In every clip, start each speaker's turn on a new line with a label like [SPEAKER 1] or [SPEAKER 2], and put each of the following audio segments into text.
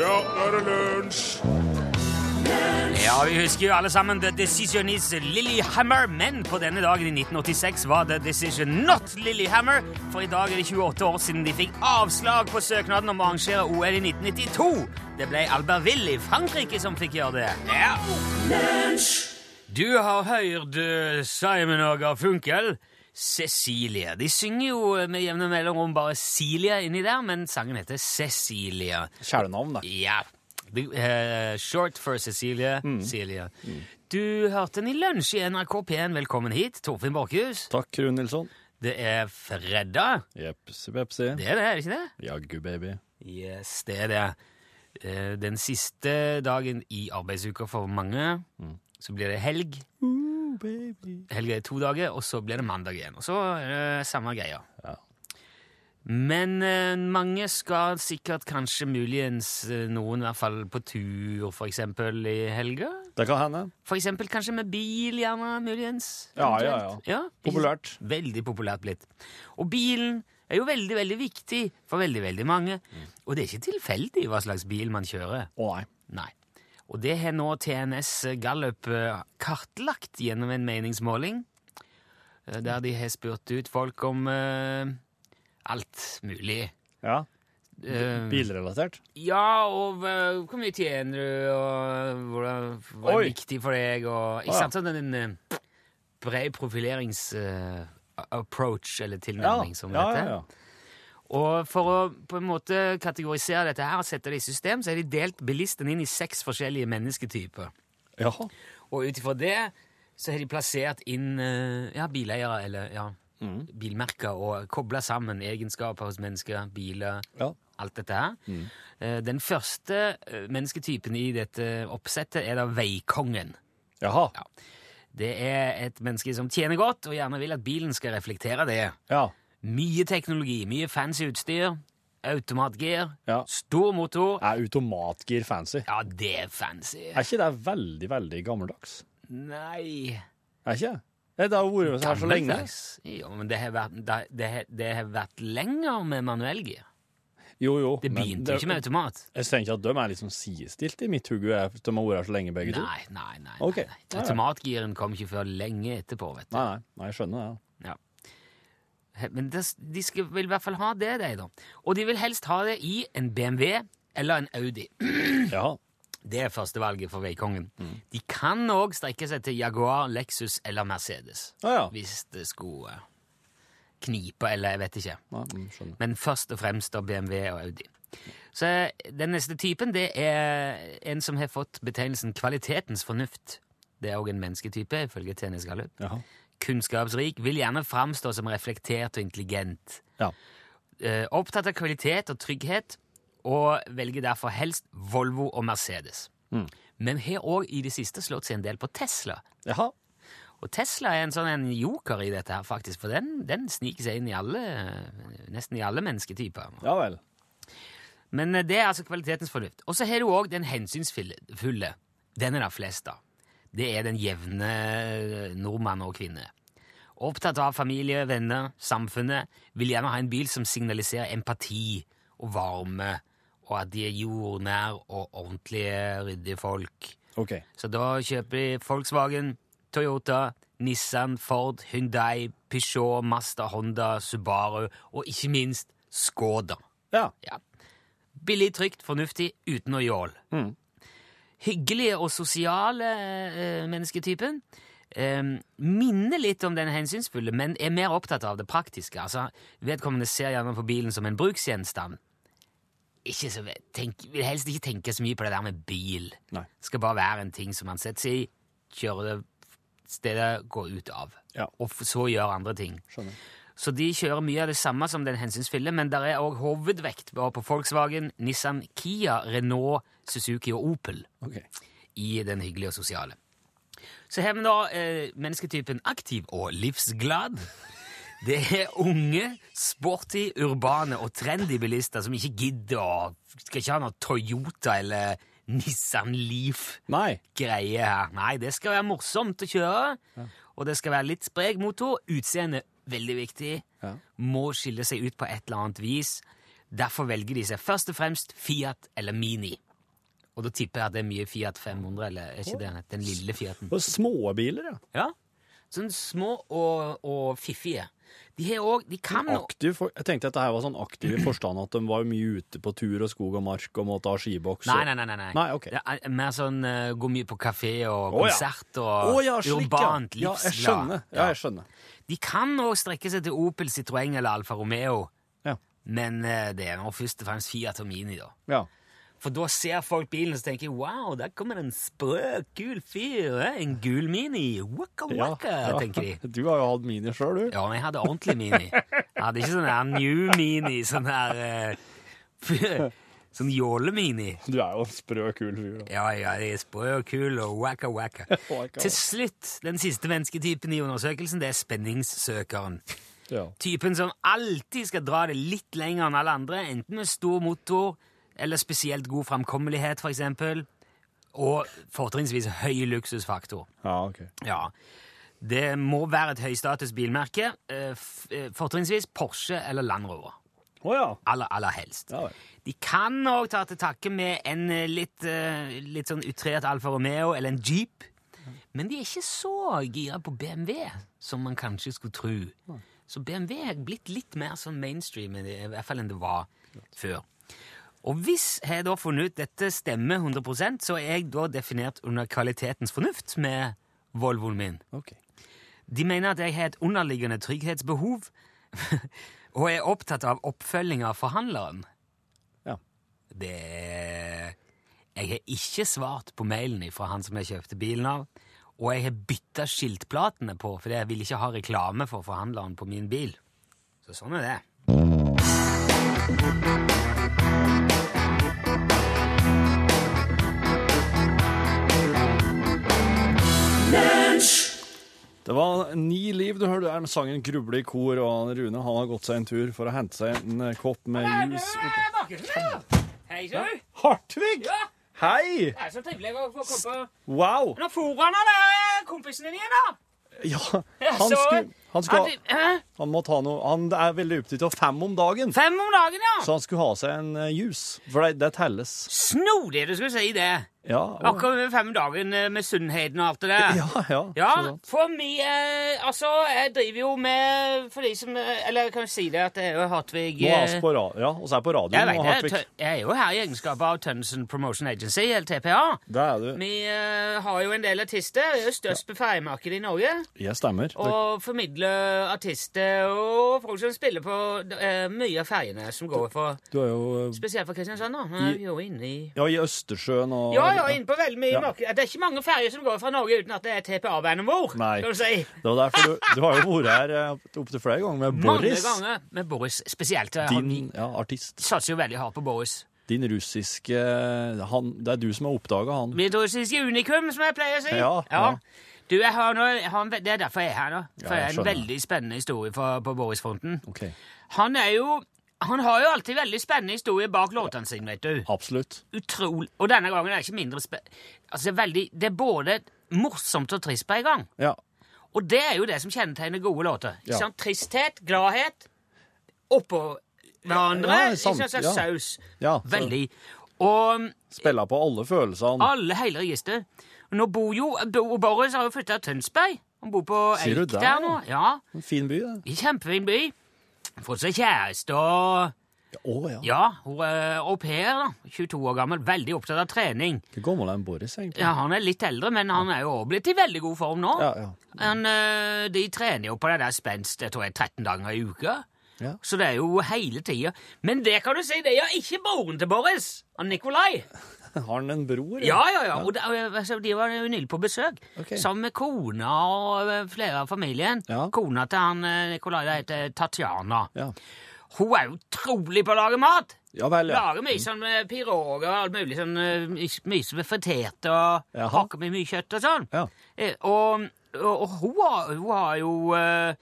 [SPEAKER 1] Ja, nå er det lunsj!
[SPEAKER 2] Ja, vi husker jo alle sammen The Decisionist Lillehammer, men på denne dagen i 1986 var The Decision Not Lillehammer, for i dag er det 28 år siden de fikk avslag på søknaden om å arrangere OL i 1992. Det ble Albertville i Frankrike som fikk gjøre det. Ja. Du har hørt eh, Simon og Garfunkel. Cecilie. De synger jo eh, med jevne mellomrom bare Cilia inni der, men sangen heter Cecilia.
[SPEAKER 3] Kjælenavn, da.
[SPEAKER 2] Ja. Du, eh, short for Cecilie. Celia. Du hørte den i lunsj i NRK P1. Velkommen hit, Torfinn Borchhus.
[SPEAKER 3] Takk, Rune Nilsson.
[SPEAKER 2] Det er fredag.
[SPEAKER 3] Jepsi pepsi.
[SPEAKER 2] Det er det, er det ikke det?
[SPEAKER 3] Jaggu, baby.
[SPEAKER 2] Yes, det er det. Eh, den siste dagen i arbeidsuka for mange.
[SPEAKER 3] Mm.
[SPEAKER 2] Så blir det helg. Helga er to dager, og så blir det mandag igjen. Og så er det samme greia.
[SPEAKER 3] Ja.
[SPEAKER 2] Men eh, mange skal sikkert kanskje muligens eh, noen i hvert fall på tur, for eksempel i helga.
[SPEAKER 3] Det kan hende.
[SPEAKER 2] For eksempel kanskje med bil, gjerne, muligens.
[SPEAKER 3] Ja, ja,
[SPEAKER 2] eventuelt. ja. ikke
[SPEAKER 3] Populært.
[SPEAKER 2] sant? Veldig populært blitt. Og bilen er jo veldig, veldig viktig for veldig, veldig mange. Og det er ikke tilfeldig hva slags bil man kjører.
[SPEAKER 3] Å nei.
[SPEAKER 2] Nei. Og det har nå TNS Gallup eh, kartlagt gjennom en meningsmåling, eh, der de har spurt ut folk om eh, alt mulig.
[SPEAKER 3] Ja. Mm.
[SPEAKER 2] Eh,
[SPEAKER 3] Bilrelatert.
[SPEAKER 2] ja, og eh, hvor mye tjener du, og hvordan, hva er
[SPEAKER 3] Oi.
[SPEAKER 2] viktig for deg, og
[SPEAKER 3] Ah,
[SPEAKER 2] ikke
[SPEAKER 3] ja.
[SPEAKER 2] sant? Sånn en eh, bred profileringsapproach, eller tilnærming, som det
[SPEAKER 3] ja,
[SPEAKER 2] heter.
[SPEAKER 3] ja, ja.
[SPEAKER 2] Og for å på en måte kategorisere dette her og sette det i system, så er de delt bilisten inn i seks forskjellige mennesketyper.
[SPEAKER 3] Jaha.
[SPEAKER 2] Og ut ifra det så har de plassert inn eh, ja, bileiere, eller ja,
[SPEAKER 3] Mm.
[SPEAKER 2] bilmerker, og kobla sammen egenskaper hos mennesker, biler,
[SPEAKER 3] Ja.
[SPEAKER 2] alt dette her.
[SPEAKER 3] Mm.
[SPEAKER 2] Eh, Den første eh, mennesketypen i dette oppsettet er da veikongen.
[SPEAKER 3] Jaha.
[SPEAKER 2] Ja. Det er et menneske som tjener godt, og gjerne vil at bilen skal reflektere det.
[SPEAKER 3] Ja.
[SPEAKER 2] Mye teknologi, mye fancy utstyr, automatgir,
[SPEAKER 3] Ja.
[SPEAKER 2] stor motor.
[SPEAKER 3] Er automatgir fancy?
[SPEAKER 2] Ja, det er fancy.
[SPEAKER 3] Er ikke det veldig, veldig gammeldags?
[SPEAKER 2] Nei
[SPEAKER 3] Er ikke det? Det har vært her så lenge.
[SPEAKER 2] Gammeldags. Ja, men det har vært, det, det, har- det har vært lenger med manuellgir.
[SPEAKER 3] Jo, jo.
[SPEAKER 2] Det
[SPEAKER 3] men
[SPEAKER 2] begynte jo ikke med automat.
[SPEAKER 3] Jeg tenker ikke at de er liksom sidestilt i mitt hode. De har vært her så lenge, begge to.
[SPEAKER 2] Nei, nei, nei.
[SPEAKER 3] Ok.
[SPEAKER 2] nei, nei. Automatgiren kom ikke før lenge etterpå, vet du.
[SPEAKER 3] Nei, nei, nei, jeg skjønner det.
[SPEAKER 2] Ja. He- Men det, de skal, vil i hvert fall ha det, de, da. Og de vil helst ha det i en BMW eller en Audi.
[SPEAKER 3] Ja. Jaha.
[SPEAKER 2] Det er førstevalget for veikongen. De kan òg strekke seg til Jaguar, Lexus eller Mercedes.
[SPEAKER 3] Ja, ja.
[SPEAKER 2] Hvis det skulle knipe, eller jeg vet ikke.
[SPEAKER 3] Nei, mm, skjønner.
[SPEAKER 2] Men først og fremst av BMW og Audi. Så den neste typen det er en som har fått betegnelsen kvalitetens fornuft. Det er òg en mennesketype, ifølge TNS Gallup.
[SPEAKER 3] Jaha.
[SPEAKER 2] Kunnskapsrik, vil gjerne framstå som reflektert og intelligent.
[SPEAKER 3] Ja.
[SPEAKER 2] Eh, opptatt av kvalitet og trygghet, og velger derfor helst Volvo og Mercedes. Men har òg i det siste slått seg en del på Tesla.
[SPEAKER 3] Jaha.
[SPEAKER 2] Og Tesla er en sånn en joker i dette her, faktisk, for den, den sniker seg inn i alle, nesten i alle mennesketyper.
[SPEAKER 3] Ja vel.
[SPEAKER 2] Men eh, det er altså kvalitetens fornuft. Og så har du òg den hensynsfulle. fulle. Den er det flest av. Det er den jevne eh, nordmann og -kvinne. Opptatt av familie, venner, samfunnet. Vil gjerne ha en bil som signaliserer empati og varme, og at de er jordnær og ordentlige, ryddige folk.
[SPEAKER 3] OK.
[SPEAKER 2] Så da kjøper de Volkswagen, Toyota, Nissan, Ford, Hyundai, Peugeot, Mazda, Honda, Subaru og ikke minst Skoda.
[SPEAKER 3] Ja.
[SPEAKER 2] Ja. Billig, trygt, fornuftig, uten å jåle.
[SPEAKER 3] Mm.
[SPEAKER 2] Hyggelige og sosiale eh, mennesketypen. Eh, minner litt om den hensynsfulle, men er mer opptatt av det praktiske. Altså, vedkommende ser gjerne på bilen som en bruksgjenstand. Ikke så, ve- tenk, vil helst ikke tenke så mye på det der med bil.
[SPEAKER 3] Nei.
[SPEAKER 2] Det skal bare være en ting som man setter seg i, kjører det stedet, går ut av.
[SPEAKER 3] Ja.
[SPEAKER 2] Og f- så gjør andre ting.
[SPEAKER 3] Skjønner.
[SPEAKER 2] Så de kjører mye av det samme som den hensynsfulle, men der er òg hovedvekt bare på Volkswagen, Nissan, Kia, Renault, Suzuki og Opel
[SPEAKER 3] OK.
[SPEAKER 2] i den hyggelige og sosiale. Så har vi da eh, mennesketypen aktiv og livsglad. Det er unge, sporty, urbane og trendy bilister som ikke gidder å Skal ikke ha noe Toyota eller Nissan Leaf
[SPEAKER 3] Nei.
[SPEAKER 2] greie her. Nei, det skal være morsomt å kjøre, og det skal være litt sprek motor. Utseende, veldig viktig.
[SPEAKER 3] Ja.
[SPEAKER 2] Må skille seg ut på et eller annet vis. Derfor velger de seg først og fremst Fiat eller Mini. Og da tipper jeg at det er mye Fiat 500, eller er ikke det den heter? Den lille Fiaten.
[SPEAKER 3] Og småbiler, ja.
[SPEAKER 2] Ja. Sånn små og, og fiffige. De har òg De kan
[SPEAKER 3] Aktiv for, jeg tenkte at det her var sånn aktiv i forstand at de var jo mye ute på tur og skog og mark og måtte ha skiboks. og-
[SPEAKER 2] Nei, nei, nei. nei, nei.
[SPEAKER 3] Nei, ok.
[SPEAKER 2] Det er mer sånn eh, gå mye på kafé og
[SPEAKER 3] Å, ja.
[SPEAKER 2] konsert
[SPEAKER 3] Å
[SPEAKER 2] og
[SPEAKER 3] ja, slik,
[SPEAKER 2] urbant
[SPEAKER 3] ja. Ja, jeg
[SPEAKER 2] livsglad.
[SPEAKER 3] skjønner. Ja, jeg skjønner.
[SPEAKER 2] De kan òg strekke seg til Opel, Citroën eller Alfa Romeo,
[SPEAKER 3] Ja.
[SPEAKER 2] men eh, det er nå først og fremst Fiat og Mini, da.
[SPEAKER 3] ja.
[SPEAKER 2] For da ser folk bilen og tenker de, wow, der kommer en sprø, kul fyr, eh, en gul Mini, waka waka,
[SPEAKER 3] ja.
[SPEAKER 2] tenker de.
[SPEAKER 3] Du har jo hatt mini sjøl, du.
[SPEAKER 2] Ja, men jeg hadde ordentlig Mini. Jeg hadde ikke sånn her new Mini, sånn her eh, Sånn jåle-Mini.
[SPEAKER 3] Du er jo en sprø, kul fyr. da.
[SPEAKER 2] Ja, ja, de er sprø og kul og waka waka.
[SPEAKER 3] Waka.
[SPEAKER 2] Til slutt, den siste mennesketypen i undersøkelsen, det er spenningssøkeren.
[SPEAKER 3] Ja.
[SPEAKER 2] Typen som alltid skal dra det litt lenger enn alle andre, enten med stor motor eller spesielt god framkommelighet, for eksempel, og fortrinnsvis høy luksusfaktor.
[SPEAKER 3] ja, ok.
[SPEAKER 2] Ja, det må være et høystatus bilmerke, eh, f- eh, fortrinnsvis Porsche eller Land Rover.
[SPEAKER 3] Å ja.
[SPEAKER 2] Aller, aller helst.
[SPEAKER 3] Ja vel.
[SPEAKER 2] De kan òg ta til takke med en eh, litt, eh, litt sånn utrert Alfa Romeo eller en Jeep. Men de er ikke så gira på BMW som man kanskje skulle tro. Så BMW er blitt litt mer sånn mainstream enn det, i hvert fall enn det var før. Og hvis jeg da funnet ut dette stemmer 100 så er jeg da definert under kvalitetens fornuft med Volvoen min.
[SPEAKER 3] Ok.
[SPEAKER 2] De mener at jeg har et underliggende trygghetsbehov, og er opptatt av oppfølging av forhandleren.
[SPEAKER 3] Ja.
[SPEAKER 2] Det er- Jeg har ikke svart på mailen fra han som jeg kjøpte bilen av, og jeg har bytta skiltplatene på, fordi jeg vil ikke ha reklame for forhandleren på min bil. Så sånn er det.
[SPEAKER 3] Det var Ni liv du hørte der med sangen Gruble i kor, og Rune han har gått seg en tur for å hente seg en eh, kopp med jus.
[SPEAKER 2] Hei, sjø!
[SPEAKER 3] Hartvig! Hei!
[SPEAKER 2] Det er så trivelig å få komme
[SPEAKER 3] Wow!
[SPEAKER 2] Nå for han av eh, kompisen din igjen, da!
[SPEAKER 3] Ja, han skulle, han, skulle, han måtte ha noe Han er veldig opptatt av fem om dagen,
[SPEAKER 2] Fem om dagen, ja!
[SPEAKER 3] så han skulle ha seg en eh, jus. For det, det telles.
[SPEAKER 2] Snodig du skulle si det.
[SPEAKER 3] Ja, og,
[SPEAKER 2] Akkurat med fem dagen eh, med sunnheten og alt det der.
[SPEAKER 3] ja, ja.
[SPEAKER 2] Ja,
[SPEAKER 3] så-
[SPEAKER 2] for meg eh, Altså, jeg driver jo med For de som eh, Eller kan vi si det at det er jo Hartvig
[SPEAKER 3] Nå er
[SPEAKER 2] eh,
[SPEAKER 3] vi på, ra- ja, og så er jeg på
[SPEAKER 2] jeg,
[SPEAKER 3] radioen
[SPEAKER 2] vet,
[SPEAKER 3] nå,
[SPEAKER 2] det,
[SPEAKER 3] Hartvig.
[SPEAKER 2] Tø- jeg er jo her i egenskap av Tønnesen Promotion Agency, eller TPA.
[SPEAKER 3] Det er du.
[SPEAKER 2] Vi eh, har jo en del artister. Vi er jo størst på ferjemarkedet i Norge.
[SPEAKER 3] Jeg stemmer.
[SPEAKER 2] Og formidler artister og folk som spiller på eh, mye av ferjene som går for
[SPEAKER 3] Du er jo eh,
[SPEAKER 2] Spesielt for Kristiansand, da. Vi er jo inne i
[SPEAKER 3] Ja, i Østersjøen og
[SPEAKER 2] Ja, ja, inne på veldig mye
[SPEAKER 3] Ja.
[SPEAKER 2] marked. Det er ikke mange ferger som går fra Norge uten at det er TPA-bandet vår.
[SPEAKER 3] Nei.
[SPEAKER 2] Skal du si.
[SPEAKER 3] Det var derfor du, du har jo vært her eh, opptil flere ganger med
[SPEAKER 2] Mange
[SPEAKER 3] Boris.
[SPEAKER 2] ganger med Boris spesielt. Han
[SPEAKER 3] Din ja, artist.
[SPEAKER 2] satser jo veldig hardt på Boris.
[SPEAKER 3] Din russiske han, Det er du som har oppdaga han.
[SPEAKER 2] Mitt russiske unikum, som jeg pleier å si.
[SPEAKER 3] Ja, ja.
[SPEAKER 2] Du, jeg har nå, jeg har en, ve- Det er derfor jeg er her nå. For
[SPEAKER 3] Ja,
[SPEAKER 2] det
[SPEAKER 3] jeg
[SPEAKER 2] er en
[SPEAKER 3] skjønner.
[SPEAKER 2] veldig spennende historie for, på Boris-fronten.
[SPEAKER 3] Ok,
[SPEAKER 2] Han er jo han har jo alltid veldig spennende historier bak låtene sine, vet du.
[SPEAKER 3] Absolutt.
[SPEAKER 2] Utrolig. Og denne gangen er det ikke mindre spe... Altså, det er, veldig, det er både morsomt og trist på en gang.
[SPEAKER 3] Ja.
[SPEAKER 2] Og det er jo det som kjennetegner gode låter. Ikke
[SPEAKER 3] Ja.
[SPEAKER 2] sant? Tristhet, gladhet, oppå hverandre.
[SPEAKER 3] Ja, ja,
[SPEAKER 2] ikke
[SPEAKER 3] sant,
[SPEAKER 2] sant? Så
[SPEAKER 3] ja.
[SPEAKER 2] Saus.
[SPEAKER 3] ja så
[SPEAKER 2] Veldig. Ah. Og um,
[SPEAKER 3] Spiller på alle følelsene.
[SPEAKER 2] alle hele register. Nå bor jo Bo Boris har jo flytta til Tønsberg. Han bor på
[SPEAKER 3] Sier du
[SPEAKER 2] Eik
[SPEAKER 3] der,
[SPEAKER 2] der nå. Ja,
[SPEAKER 3] En fin by, det.
[SPEAKER 2] i Kjempefin by. Fått seg kjæreste og
[SPEAKER 3] Å ja.
[SPEAKER 2] Ja, hun er au pair, da. 22 år gammel. Veldig opptatt av trening.
[SPEAKER 3] Hvor gammel er en Boris, egentlig?
[SPEAKER 2] Ja, Han er litt eldre, men han er jo også blitt i veldig god form nå.
[SPEAKER 3] Ja, ja.
[SPEAKER 2] Men eh, de trener jo på det der spenst jeg tror jeg 13 dager i uka.
[SPEAKER 3] Ja.
[SPEAKER 2] Så det er jo hele tida. Men det kan du si, det gjør ikke broren til Boris. Han Nikolai.
[SPEAKER 3] Har han en bror?
[SPEAKER 2] Ja, ja, ja. Og da- og, altså, de var jo nylig på besøk.
[SPEAKER 3] Ok.
[SPEAKER 2] Sammen med kona og eh, flere av familien.
[SPEAKER 3] Ja.
[SPEAKER 2] Kona til han eh, Nikolai det heter Tatjana.
[SPEAKER 3] Ja,
[SPEAKER 2] Hun er utrolig på å lage mat!
[SPEAKER 3] ja vel, ja.
[SPEAKER 2] Lager mye sånn eh, piroger og alt mulig sånn eh, mye- Mye som er fritert og
[SPEAKER 3] Jaha.
[SPEAKER 2] hakker med mye kjøtt og sånn.
[SPEAKER 3] Ja.
[SPEAKER 2] Eh, Og, og, og hun, har, hun har jo eh,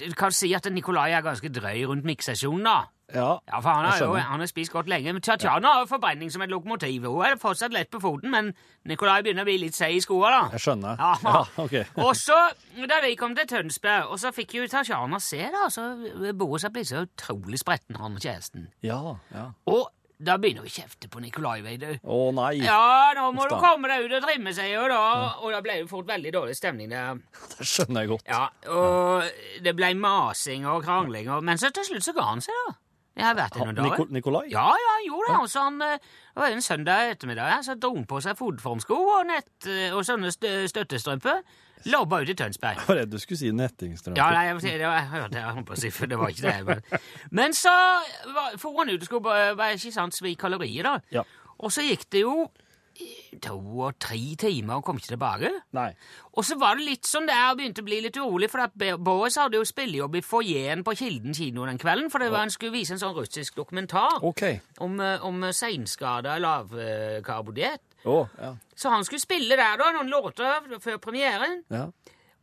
[SPEAKER 2] Du kan si at Nikolai er ganske drøy rundt miksesjonen, da.
[SPEAKER 3] ja.
[SPEAKER 2] Ja, for han har
[SPEAKER 3] Jeg
[SPEAKER 2] jo
[SPEAKER 3] skjønner.
[SPEAKER 2] han har spist godt lenge. Men Tatjana har jo forbrenning som et lokomotiv. Hun er fortsatt lett på foten, men Nikolai begynner å bli litt seig i skoa, da.
[SPEAKER 3] Jeg skjønner.
[SPEAKER 2] Ja.
[SPEAKER 3] Ja, ok.
[SPEAKER 2] og så, da vi kom til Tønsberg, og så fikk jo Tatjana se, da, så Boris har blitt så utrolig spretten, han og kjæresten.
[SPEAKER 3] Ja, ja.
[SPEAKER 2] Og Da begynner vi å kjefte på Nikolai, vet du.
[SPEAKER 3] Å nei.
[SPEAKER 2] Ja, nå må
[SPEAKER 3] Uff
[SPEAKER 2] du
[SPEAKER 3] da.
[SPEAKER 2] komme deg ut og trimme seg, jo, da. Og da ble det fort veldig dårlig stemning der.
[SPEAKER 3] Det skjønner jeg godt.
[SPEAKER 2] Ja, og det ble masing og krangling, og, men så til slutt så ga han seg, da. Jeg har vært her noen dager.
[SPEAKER 3] Nikol Nikolai?
[SPEAKER 2] Ja, ja, han gjorde det. Og så han, eh, det var en søndag ettermiddag her, så dro han på seg fotformsko og, nett, eh, og sånne stø- støttestrømper. Lobba ut i Tønsberg.
[SPEAKER 3] Jeg var redd du skulle si nettingstrømpe.
[SPEAKER 2] Ja, nei, jeg, må si det var, jeg hørte jeg holdt på å si, for det var ikke det. Men, men så var- for han ut og skulle bare, bare ikke sant, svi kalorier, da.
[SPEAKER 3] Ja.
[SPEAKER 2] Og så gikk det jo eh, to og tre timer og kom ikke tilbake.
[SPEAKER 3] Nei.
[SPEAKER 2] Og så var det litt sånn der, og begynte å bli litt urolig, for at Be- Boris hadde jo spillejobb i foajeen på Kilden kino den kvelden, for det var han skulle vise en sånn russisk dokumentar
[SPEAKER 3] OK.
[SPEAKER 2] om, eh, om seinskada lavkarbodiett.
[SPEAKER 3] Å, ja.
[SPEAKER 2] Så han skulle spille der, da, noen låter før premieren.
[SPEAKER 3] ja.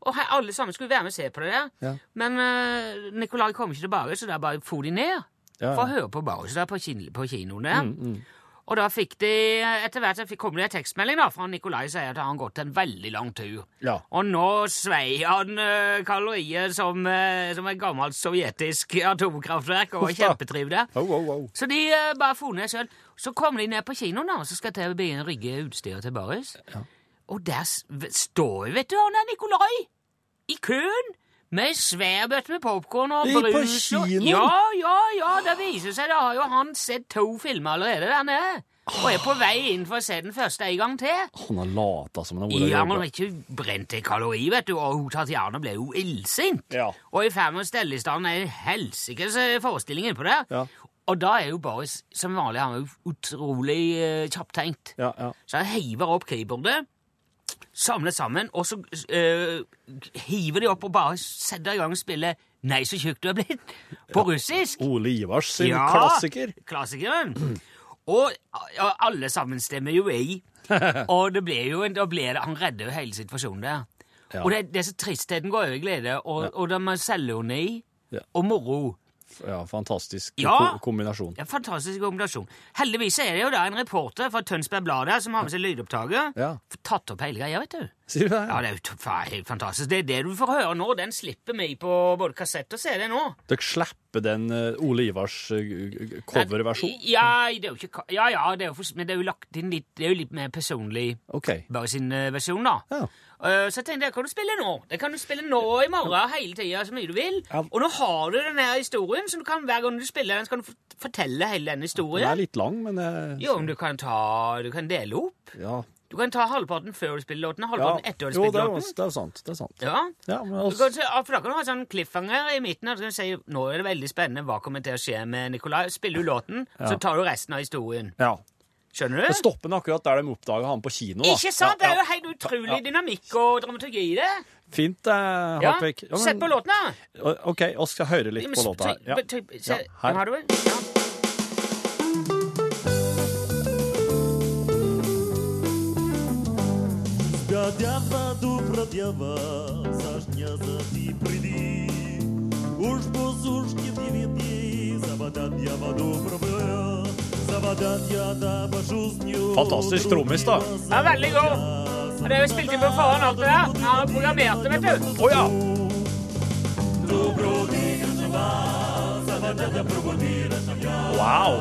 [SPEAKER 2] Og he- alle sammen skulle være med og se på det der.
[SPEAKER 3] Ja.
[SPEAKER 2] Men eh, Nikolai kom ikke tilbake, så da bare for de ned.
[SPEAKER 3] Ja, Mm. ja.
[SPEAKER 2] For å høre på Boris der på, kin på kinoen der. Og da fikk de eh, Etter hvert så fikk- kom det en tekstmelding da, fra Nikolai sier at han har gått en veldig lang tur.
[SPEAKER 3] Ja.
[SPEAKER 2] Og nå svei han eh, kalorier som, eh, som et gammelt sovjetisk atomkraftverk og var
[SPEAKER 3] Uff da.
[SPEAKER 2] kjempetriv der.
[SPEAKER 3] Au, au, au.
[SPEAKER 2] Så de eh, bare for ned sjøl. Så kommer de ned på kinoen, da, og så skal TV begynne å rigge utstyret til Boris. Og der s- v- står jo, vet du, han er Nikolai! I køen! Med svær bøtte med popkorn og
[SPEAKER 3] I- på
[SPEAKER 2] brus og
[SPEAKER 3] kinoen?
[SPEAKER 2] Ja, ja, ja! Det viser seg, da har jo han sett to filmer allerede der nede. Og er på vei inn for å se den første en gang til.
[SPEAKER 3] Han har lata som han har vært
[SPEAKER 2] Ja,
[SPEAKER 3] og
[SPEAKER 2] men
[SPEAKER 3] jobbet.
[SPEAKER 2] ikke brent i kalori, vet du, og hun Tatjana ble jo illsint.
[SPEAKER 3] Ja.
[SPEAKER 2] Og i ferd med å stelle i stand en helsikes eh, forestilling innpå der.
[SPEAKER 3] Ja.
[SPEAKER 2] Og da er jo Boris som vanlig han er jo utrolig eh, kjapptenkt.
[SPEAKER 3] Ja, ja.
[SPEAKER 2] Så han hiver opp keyboardet, samler sammen, og så eh, hiver de opp og bare setter i gang og spiller Nei, så tjukk du er blitt, på russisk.
[SPEAKER 3] Ole Ivars sin klassiker.
[SPEAKER 2] Klassikeren. Og, og alle sammen stemmer jo i. Og det ble jo, en- da ble det, han redder jo hele situasjonen der.
[SPEAKER 3] Ja.
[SPEAKER 2] Og det, det er så tristheten går over i glede, og, og det med selvironi
[SPEAKER 3] Ja.
[SPEAKER 2] og moro.
[SPEAKER 3] Ja, fantastisk
[SPEAKER 2] Ja.
[SPEAKER 3] ko kombinasjon.
[SPEAKER 2] Det er en fantastisk kombinasjon. Heldigvis er det jo da en reporter fra Tønsberg Blad her som har med seg lydopptaker.
[SPEAKER 3] Ja.
[SPEAKER 2] Tatt opp hele greia, vet du.
[SPEAKER 3] Sier du det?
[SPEAKER 2] Ja, det er jo t- fa- helt fantastisk. Det er det du får høre nå. Den slipper vi på både kassett og CD nå.
[SPEAKER 3] Dere slipper den eh, Ole Ivars eh, g- g- coverversjon?
[SPEAKER 2] Ja, det er jo ikke, ka- ja, ja det er jo, for- men det er jo lagt inn litt, det er jo litt mer personlig.
[SPEAKER 3] OK.
[SPEAKER 2] bare sin eh, versjon, da.
[SPEAKER 3] Ja.
[SPEAKER 2] Eh, så jeg tenkte jeg, kan du spille nå? Det kan du spille nå og i morgen hele tida så mye du vil.
[SPEAKER 3] Ja.
[SPEAKER 2] Og nå har du den her historien, så du kan, hver gang du spiller den, så kan du fort- fortelle hele den
[SPEAKER 3] Den er
[SPEAKER 2] historien.
[SPEAKER 3] litt lang, men eh,
[SPEAKER 2] Jo, men du kan ta Du kan dele opp.
[SPEAKER 3] ja.
[SPEAKER 2] Du kan ta halvparten før du spiller låten, og
[SPEAKER 3] ja.
[SPEAKER 2] halvparten etter du
[SPEAKER 3] Jo, det
[SPEAKER 2] spiller
[SPEAKER 3] er jo
[SPEAKER 2] låten.
[SPEAKER 3] det er jo sant. Det er sant.
[SPEAKER 2] Ja.
[SPEAKER 3] Ja, men
[SPEAKER 2] Du
[SPEAKER 3] altså,
[SPEAKER 2] kan, se- ja, for da kan du ha en sånn cliffhanger i midten. Og så kan du si nå er det veldig spennende. Hva kommer til å skje med Nikolai? Spiller du låten, så tar du resten av historien.
[SPEAKER 3] ja.
[SPEAKER 2] Skjønner
[SPEAKER 3] Men
[SPEAKER 2] du?
[SPEAKER 3] stopper den akkurat der de oppdager han på kino. Da.
[SPEAKER 2] Ikke sant? Det
[SPEAKER 3] Ja,
[SPEAKER 2] er
[SPEAKER 3] ja.
[SPEAKER 2] jo helt utrolig dynamikk og dramaturgi i det.
[SPEAKER 3] Fint, eh,
[SPEAKER 2] Ja,
[SPEAKER 3] Hartvig. Ja, men-
[SPEAKER 2] Sett på låten, da.
[SPEAKER 3] O- OK, vi skal høre litt på låta her. Ja. Ja, her.
[SPEAKER 2] her. Har du vel? Ja.
[SPEAKER 4] Дядя воду продева, сажнята ты приди. Уж по сушке ты ветви, забодат я воду пробыла. Забодат я да башусню.
[SPEAKER 3] Fantastisk trommis, da.
[SPEAKER 2] Ja, veldig god. Og det er jo spilt inn på forhånd, alt det der. Han har programmert det, vet du.
[SPEAKER 3] Å ja! Wow!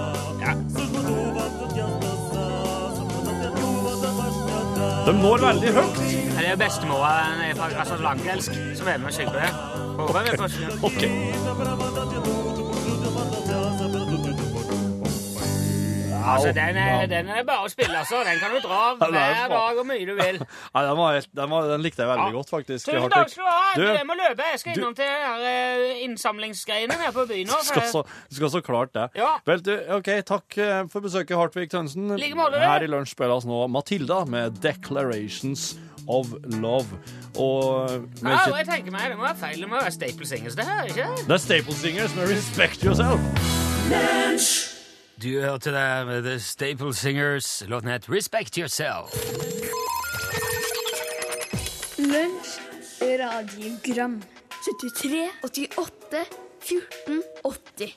[SPEAKER 3] De når veldig høyt.
[SPEAKER 2] Ja, det er bestemora nede fra altså, Langelsk som er med og synger på det. Håper vi får se.
[SPEAKER 3] Ok.
[SPEAKER 2] Altså, den er, den er bare å spille, altså. Den kan du dra
[SPEAKER 3] Ja, det er
[SPEAKER 2] hver
[SPEAKER 3] bra.
[SPEAKER 2] dag og mye du vil.
[SPEAKER 3] Nei, den, var helt, den, var, den likte jeg veldig
[SPEAKER 2] Ja.
[SPEAKER 3] godt, faktisk.
[SPEAKER 2] Tusen
[SPEAKER 3] Hartvig.
[SPEAKER 2] takk skal du ha.
[SPEAKER 3] Du,
[SPEAKER 2] Jeg må løpe. Jeg skal
[SPEAKER 3] du-
[SPEAKER 2] innom til de her, eh, innsamlingsgreiene nede på byen nå.
[SPEAKER 3] skal så, skal så klart det.
[SPEAKER 2] Ja.
[SPEAKER 3] Vel, du, ok, Takk eh, for besøket, Hartvig Tønsen.
[SPEAKER 2] Like måte, du.
[SPEAKER 3] Her i lunsj spilles nå Matilda med 'Declarations of Love'. Og
[SPEAKER 2] Ja, og jeg tenker meg, det må være feil. Det må være Staple Singers, det her, ikke
[SPEAKER 3] det er Staple Singers med 'Respect Yourself'.
[SPEAKER 2] Du hørte det med The Staple Singers. Låten het Respect Yourself.
[SPEAKER 5] Lunsj radiogram 73 88 14 80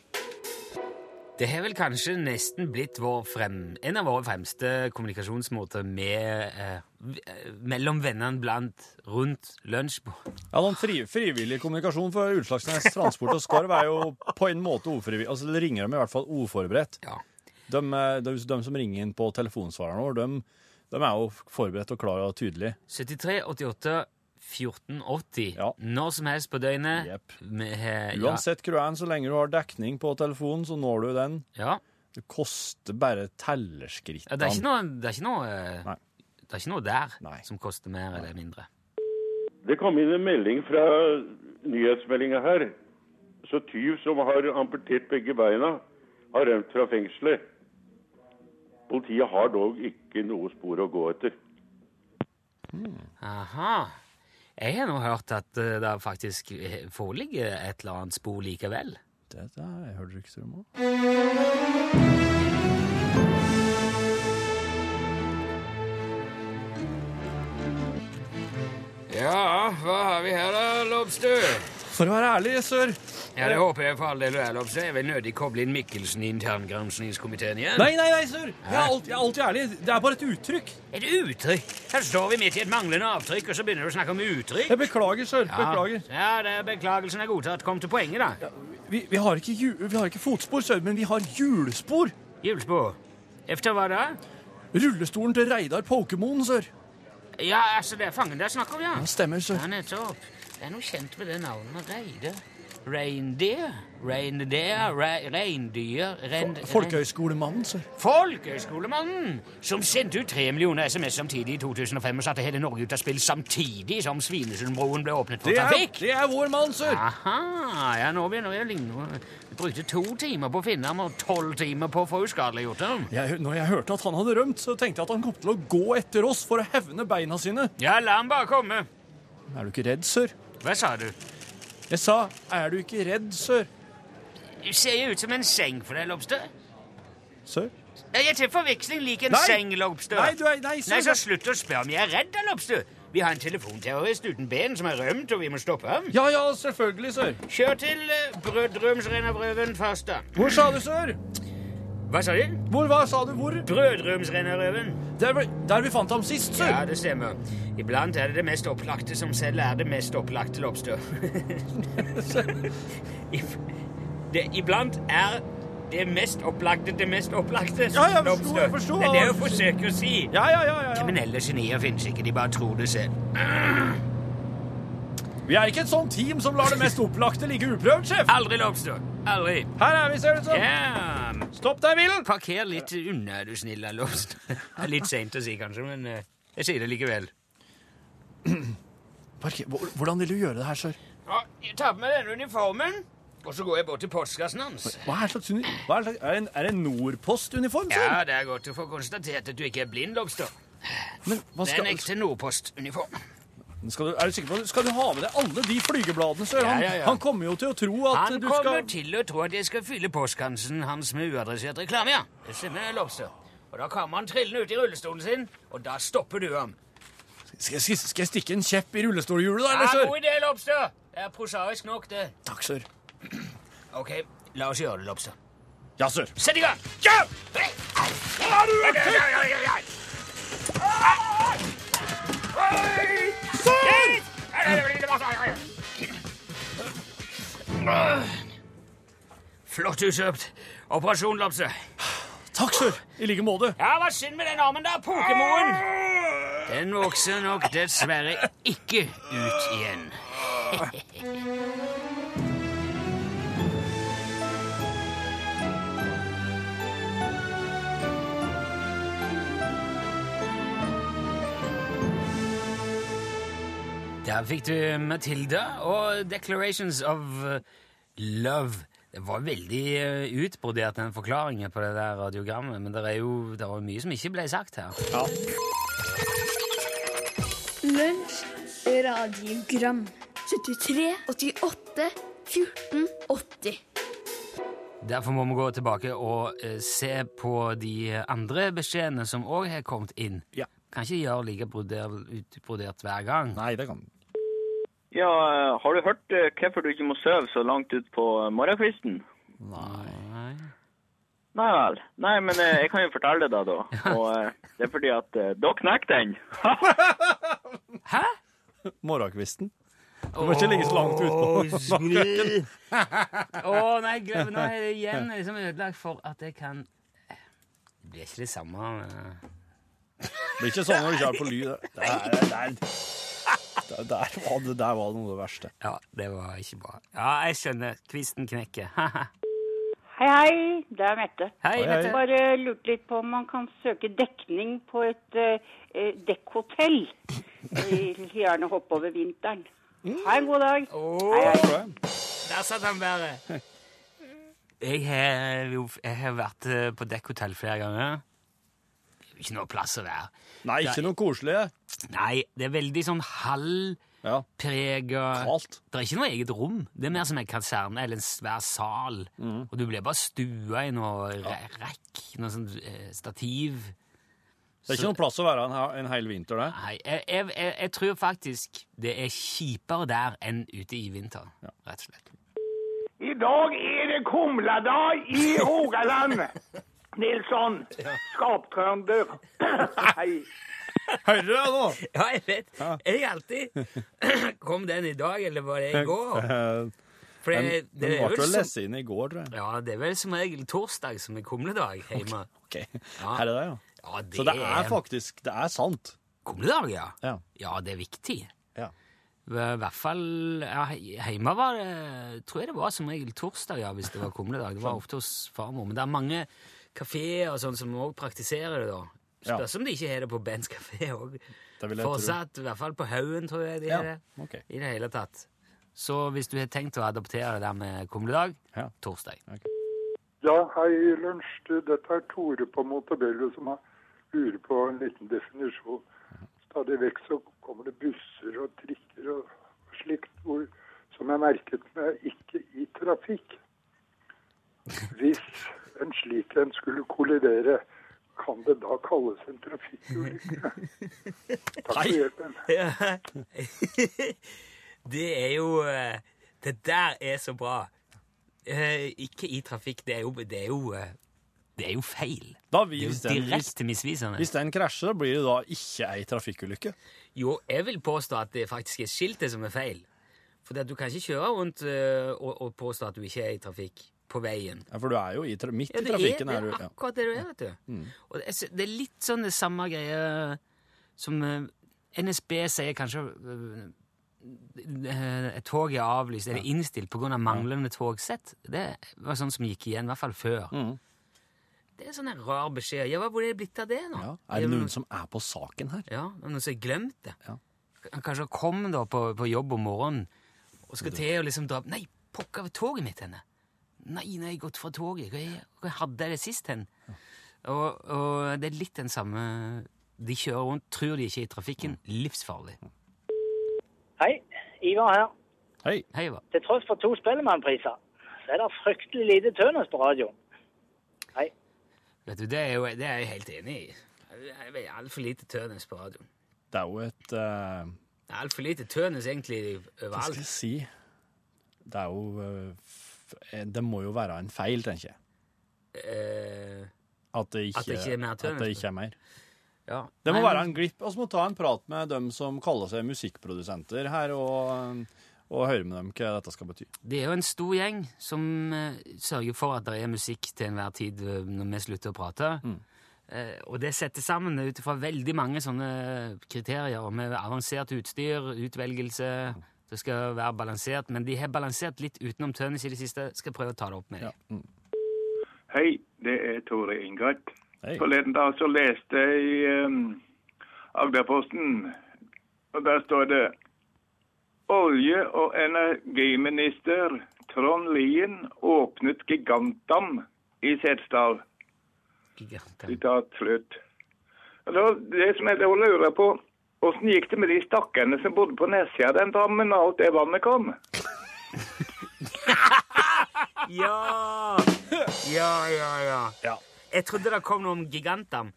[SPEAKER 2] Det har vel kanskje nesten blitt vår frem, en av våre fremste kommunikasjonsmåter med, eh, v- eh, mellom vennene blant rundt lunsjbord.
[SPEAKER 3] Ja, den fri, Frivillig kommunikasjon for Utslagsnes Transport og Skarv er jo på en måte ufrivillig. Altså, det ringer dem i hvert fall uforberedt.
[SPEAKER 2] Ja.
[SPEAKER 3] De, eh, de, de som ringer inn på telefonsvareren vår, de, de er jo forberedt og klare og tydelige.
[SPEAKER 2] 73 88 14 80.
[SPEAKER 3] Ja.
[SPEAKER 2] Når som helst på døgnet.
[SPEAKER 3] Jepp.
[SPEAKER 2] Med, eh, ja.
[SPEAKER 3] Uansett hvor du er, så lenge du har dekning på telefonen, så når du den.
[SPEAKER 2] Ja.
[SPEAKER 3] Det koster bare
[SPEAKER 2] Ja,
[SPEAKER 3] tellerskrittene.
[SPEAKER 2] det er ikke noe, det er ikke noe, eh,
[SPEAKER 3] Nei.
[SPEAKER 2] det er ikke noe der
[SPEAKER 3] Nei.
[SPEAKER 2] som koster mer eller mindre.
[SPEAKER 6] Det kom inn en melding fra nyhetsmeldinga her. Så tyv som har amputert begge beina, har rømt fra fengselet. Politiet har dog ikke noe spor å gå etter.
[SPEAKER 2] Aha. Jeg har nå hørt at eh, det faktisk eh, foreligger et eller annet spor likevel.
[SPEAKER 3] Det der jeg hørte rykter om òg.
[SPEAKER 2] Ja, hva har vi her da, Lobster?
[SPEAKER 3] For å være ærlig, sør
[SPEAKER 2] Ja, det håper jeg for all del du er, Lobster. Jeg vil nødig koble inn Mikkelsen i interngranskningskomiteen igjen.
[SPEAKER 3] Nei, nei, nei, sør! Jeg er, alt, jeg er alltid ærlig. Det er bare et uttrykk.
[SPEAKER 2] Et uttrykk! Her står vi midt i et manglende avtrykk, og så begynner du å snakke om uttrykk.
[SPEAKER 3] Jeg beklager, sør. Beklager.
[SPEAKER 2] Ja, ja det er beklagelsen er godtatt. Kom til poenget, da.
[SPEAKER 3] Vi, vi, har ikke ju, vi har ikke fotspor, sør, men vi har hjulspor.
[SPEAKER 2] Hjulspor. Efter hva da?
[SPEAKER 3] Rullestolen til Reidar Pokémon, sør.
[SPEAKER 2] Ja, altså, det er fangen det er snakk om, ja.
[SPEAKER 3] Ja, stemmer, sør.
[SPEAKER 2] Ja, nettopp. Det er noe kjent med det navnet Reide. Reindeer? Reindeer? Re reindyr? Reind
[SPEAKER 3] Folkehøyskolemannen, sør.
[SPEAKER 2] Folkehøyskolemannen! Som sendte ut tre millioner SMS samtidig i 2005 og satte hele Norge ut av spill samtidig som Svinesundbroen ble åpnet for
[SPEAKER 3] Det er,
[SPEAKER 2] trafikk.
[SPEAKER 3] det er vår mann, sør.
[SPEAKER 2] Aha, ja, nå begynner jeg å ligne. Vi brukte to timer på å finne ham og tolv timer på å få uskadeliggjort ham.
[SPEAKER 3] Jeg, når jeg hørte at han hadde rømt, så tenkte jeg at han kom til å gå etter oss for å hevne beina sine.
[SPEAKER 2] Ja, la ham bare komme.
[SPEAKER 3] Er du ikke redd, sør?
[SPEAKER 2] Hva sa du?
[SPEAKER 3] Jeg sa, er du ikke redd, sør?
[SPEAKER 2] Du ser jo ut som en seng for deg, Lobster.
[SPEAKER 3] Sør?
[SPEAKER 2] Nei, Jeg er til forveksling lik en
[SPEAKER 3] Nei!
[SPEAKER 2] seng, Lobster.
[SPEAKER 3] Nei, du er, nei,
[SPEAKER 2] Nei, sånn.
[SPEAKER 3] sør.
[SPEAKER 2] så slutt å spørre om jeg er redd, da, Lobster. Vi har en telefonterrorist uten ben som er rømt, og vi må stoppe ham.
[SPEAKER 3] Ja, ja, selvfølgelig, sør.
[SPEAKER 2] Kjør til uh, Brødrumsrennerøven først, da.
[SPEAKER 3] Hvor sa du, sør?
[SPEAKER 2] Hva sa du?
[SPEAKER 3] Hvor, hva sa du, hvor?
[SPEAKER 2] Brødrumsrennerøven.
[SPEAKER 3] Der, vi- der vi fant ham sist, sør.
[SPEAKER 2] Ja, det stemmer. Iblant er det det mest opplagte som selv er det mest opplagte lobster. If- det, iblant er det mest opplagte det mest opplagte
[SPEAKER 3] Ja, jeg forstår,
[SPEAKER 2] lobster.
[SPEAKER 3] jeg forstår.
[SPEAKER 2] Det er det jeg forsøker å si.
[SPEAKER 3] Ja, ja, ja, ja, ja.
[SPEAKER 2] Kriminelle genier finnes ikke, de bare tror det selv.
[SPEAKER 3] Vi er ikke et sånt team som lar det mest opplagte ligge uprøvd, sjef.
[SPEAKER 2] Aldri lobster. Aldri.
[SPEAKER 3] Her er vi, ser det ut som.
[SPEAKER 2] Ja.
[SPEAKER 3] Stopp deg, bilen.
[SPEAKER 2] Parker litt unna, du snille lobster. Det er litt seint å si, kanskje, men eh, jeg sier det likevel.
[SPEAKER 3] Parker, hvor- hvordan vil du gjøre det her, sør?
[SPEAKER 2] Ja, jeg tar på meg denne uniformen, og så går jeg bort til postkassen hans.
[SPEAKER 3] Hva er slags uni... Hva er, slags, er, det en, er det en Nordpost-uniform, sør?
[SPEAKER 2] Ja, det er godt å få konstatert at du ikke er blind, Lobster.
[SPEAKER 3] Men hva
[SPEAKER 2] Det er en
[SPEAKER 3] skal...
[SPEAKER 2] ekte Nordpost-uniform.
[SPEAKER 3] Skal du, er du sikker på Skal du ha med deg alle de flygebladene, sør? Han,
[SPEAKER 2] Ja, ja, ja.
[SPEAKER 3] han kommer jo til å tro at
[SPEAKER 2] Han
[SPEAKER 3] du
[SPEAKER 2] kommer
[SPEAKER 3] skal
[SPEAKER 2] til å tro at jeg skal fylle postkansen hans med uadressert reklame, ja. Det stemmer, Lobster. Og da kommer han trillende ut i rullestolen sin, og da stopper du ham.
[SPEAKER 3] skal, skal, skal jeg stikke en kjepp i rullestolhjulet, da,
[SPEAKER 2] Ja,
[SPEAKER 3] eller,
[SPEAKER 2] god
[SPEAKER 3] sør?
[SPEAKER 2] idé, Lobster! Det er prosaisk nok, det.
[SPEAKER 3] Takk, sør.
[SPEAKER 2] Ok, la oss gjøre det, Lobster.
[SPEAKER 3] Ja, sør.
[SPEAKER 2] Sett i gang! Ja! Har du vært her? Sør! Flott usøpt. Operasjon, Lopse.
[SPEAKER 3] Takk, sør. I like måte.
[SPEAKER 2] Ja, hva synd med den armen der, Pokémon? Den vokser nok dessverre ikke ut igjen. Der fikk du Matilda og Declarations of eh, Love. Det var veldig eh, utbrodert, den forklaringen på det der radiogrammet, men det er jo det var mye som ikke ble sagt her.
[SPEAKER 5] Lunsj radiogram 73 88 14 80
[SPEAKER 2] Derfor må vi gå tilbake og eh, se på de andre beskjedene som òg har kommet inn.
[SPEAKER 3] Ja.
[SPEAKER 2] Kan ikke gjøre like broder- utbrodert hver gang.
[SPEAKER 3] Nei, det kan
[SPEAKER 7] Ja, eh, har du hørt eh, hvorfor du ikke må sove så langt ut på eh, morgenkvisten?
[SPEAKER 2] Nei.
[SPEAKER 7] Nei vel. Nei, men eh, jeg kan jo fortelle deg da. Og eh, det er fordi at eh, da knekk den.
[SPEAKER 2] Hæ?
[SPEAKER 3] Morgenkvisten. Du må ikke ligge så langt utpå.
[SPEAKER 2] Å, nei, glem, nå er det igjen liksom ødelagt for at jeg kan Det blir ikke det samme eh.
[SPEAKER 3] Det blir ikke sånn når du ikke er på lyd. Det er, det er, det der, var det, der var det noe av det verste.
[SPEAKER 2] Ja, det var ikke bra. Ja, jeg skjønner. Kvisten knekker. Hei,
[SPEAKER 8] Hei, hei. Det er Mette.
[SPEAKER 3] hei.
[SPEAKER 2] Mette.
[SPEAKER 8] Bare lurte litt på om man kan søke dekning på et eh, eh, dekkhotell. Jeg vil gjerne hoppe over vinteren. Ha en god dag. Hei, hei.
[SPEAKER 2] Der satt han bare. Jeg har, jo, jeg har vært eh, på dekkhotell flere ganger. Det er jo Ikke noe plass å være.
[SPEAKER 3] Nei, ikke noe koselig.
[SPEAKER 2] Nei, det er veldig sånn halvprega
[SPEAKER 3] Ja, kaldt.
[SPEAKER 2] Det er ikke noe eget rom. Det er mer som en kaserne eller en svær sal.
[SPEAKER 3] Mm.
[SPEAKER 2] Og du blir bare stua i noe re- rekk, noe sånt eh, stativ.
[SPEAKER 3] Det er ikke noe plass å være en, he- en hel vinter, det.
[SPEAKER 2] Nei, jeg, jeg, jeg, jeg tror faktisk det er kjipere der enn ute i vinter, rett og slett.
[SPEAKER 9] I dag er det kumladag i Rogaland. Nilsson, skaptrønder. Hei.
[SPEAKER 3] Hører du det nå?
[SPEAKER 2] Ja, jeg vet. Jeg alltid Kom den i dag, eller var det i går?
[SPEAKER 3] Eh,
[SPEAKER 2] For
[SPEAKER 3] Den
[SPEAKER 2] det, det
[SPEAKER 3] den
[SPEAKER 2] er
[SPEAKER 3] var til
[SPEAKER 2] vel
[SPEAKER 3] å
[SPEAKER 2] som,
[SPEAKER 3] lese inn i går, tror jeg.
[SPEAKER 2] ja, det er vel som regel torsdag som er kumledag hjemme.
[SPEAKER 3] Ok, Her er det, ja.
[SPEAKER 2] Ja, det,
[SPEAKER 3] Så det er
[SPEAKER 2] en
[SPEAKER 3] faktisk Det er sant.
[SPEAKER 2] kumledag, ja.
[SPEAKER 3] Ja.
[SPEAKER 2] Ja, det er viktig.
[SPEAKER 3] Ja.
[SPEAKER 2] I hvert fall ja, hjemme var det Tror jeg det var som regel torsdag, ja, hvis det var kumledag. Det var ofte hos farmor. Men det er mange kafeer og sånn som òg praktiserer det, da.
[SPEAKER 3] Ja.
[SPEAKER 2] Spørs om de ikke har det på Bens kafé òg.
[SPEAKER 3] Det vil jeg tro.
[SPEAKER 2] Fortsatt. I hvert fall på Haugen, tror jeg de
[SPEAKER 3] Ja,
[SPEAKER 2] har det.
[SPEAKER 3] ok.
[SPEAKER 2] I det hele tatt. Så hvis du har tenkt å adoptere det der med kumledag,
[SPEAKER 3] Ja.
[SPEAKER 2] torsdag.
[SPEAKER 10] Ja, hei, lunsj. Du, Dette er Tore på Montebello som har- lurer på en liten definisjon. Stadig vekk så kommer det busser og trikker og slikt hvor, som er merket med 'ikke i trafikk'. Hvis en slik en skulle kollidere, kan det da kalles en trafikkulykke? Takk for hjelpen.
[SPEAKER 2] det er jo eh, Det der er så bra. Eh, Ikke i trafikk. Det er jo, det er jo, eh, det er jo feil.
[SPEAKER 3] Da, vi-
[SPEAKER 2] Det er
[SPEAKER 3] hvis,
[SPEAKER 2] jo
[SPEAKER 3] den, hvis,
[SPEAKER 2] direkte misvisende.
[SPEAKER 3] hvis den krasjer, blir det da ikke ei trafikkulykke.
[SPEAKER 2] Jo, jeg vil påstå at det faktisk er skiltet som er feil. For du kan ikke kjøre rundt eh, og, og påstå at du ikke er i trafikk på veien.
[SPEAKER 3] Ja, for du er jo i tra midt
[SPEAKER 2] Ja,
[SPEAKER 3] i
[SPEAKER 2] det er,
[SPEAKER 3] trafikken.
[SPEAKER 2] det
[SPEAKER 3] Er,
[SPEAKER 2] er
[SPEAKER 3] du, ja. Mm.
[SPEAKER 2] akkurat det du er, vet du. Og det, er, så- det er litt sånn det samme greie som eh, NSB sier kanskje eh, eh, et tog er avlyst eller innstilt pga. Av manglende togsett. Det var sånn som gikk igjen, i hvert fall før.
[SPEAKER 3] Mm.
[SPEAKER 2] Det er sånn en rar beskjed. Ja, hva- hvor er det blitt av det nå?
[SPEAKER 3] Ja. er det noen som er på saken her?
[SPEAKER 2] Ja, det er noen som har glemt det.
[SPEAKER 3] Ja.
[SPEAKER 2] Han kanskje kom da på, på jobb om morgenen og skal til å liksom dra Nei, pokker var toget mitt henne! Nei, nå har jeg gått fra toget. Hva, er- hva hadde jeg det sist hen? Og, og det er litt den samme De kjører rundt, tror de ikke er i trafikken.
[SPEAKER 3] Mm.
[SPEAKER 2] Livsfarlig.
[SPEAKER 11] Hei, Ivar her.
[SPEAKER 3] Hei.
[SPEAKER 2] Hei, Ivar.
[SPEAKER 11] Til tross for to Spellemannpriser, så er det fryktelig lite tønnes på radioen.
[SPEAKER 2] Vet du, det er, jo, det er jeg helt enig i. Det er altfor lite tønes på radioen.
[SPEAKER 3] Det er jo et eh,
[SPEAKER 2] Det er altfor lite tønes egentlig
[SPEAKER 3] Hva skal
[SPEAKER 2] overalt.
[SPEAKER 3] jeg si? Det er jo eh, f- eh, Det må jo være en feil, tenker jeg.
[SPEAKER 2] Eh,
[SPEAKER 3] At det ikke,
[SPEAKER 2] At det ikke er mer altså. tønnes,
[SPEAKER 3] at det ikke er mer.
[SPEAKER 2] ja.
[SPEAKER 3] Det må
[SPEAKER 2] Nei,
[SPEAKER 3] være
[SPEAKER 2] men-
[SPEAKER 3] en glipp. Vi må ta en prat med dem som kaller seg musikkprodusenter her, og, og høre med dem hva dette skal bety.
[SPEAKER 2] Det er jo en stor gjeng som eh, sørger for at det er musikk til enhver tid eh, når vi slutter å prate.
[SPEAKER 3] Mm.
[SPEAKER 2] Eh, og det setter sammen ut fra veldig mange sånne kriterier med avansert utstyr, utvelgelse
[SPEAKER 3] Mm.
[SPEAKER 2] Det skal være balansert, men de har balansert litt utenom tønnes i det siste. Skal prøve å ta det opp med dem.
[SPEAKER 9] Hei, det er Tore Ingat.
[SPEAKER 3] Hei.
[SPEAKER 9] Forleden dag så leste jeg i um, Agderposten, og der står det Olje- og energiminister Trond Lien åpnet gigantdam i Setesdal.
[SPEAKER 2] Giganter.
[SPEAKER 9] Sitat slutt. Og da, det som jeg da lurer på, åssen gikk det med de stakkarene som bodde på nedsida av den dammen da alt det vannet kom?
[SPEAKER 2] Ja! Ja, ja, ja.
[SPEAKER 3] Ja.
[SPEAKER 2] Jeg trodde det kom noe om gigantdam.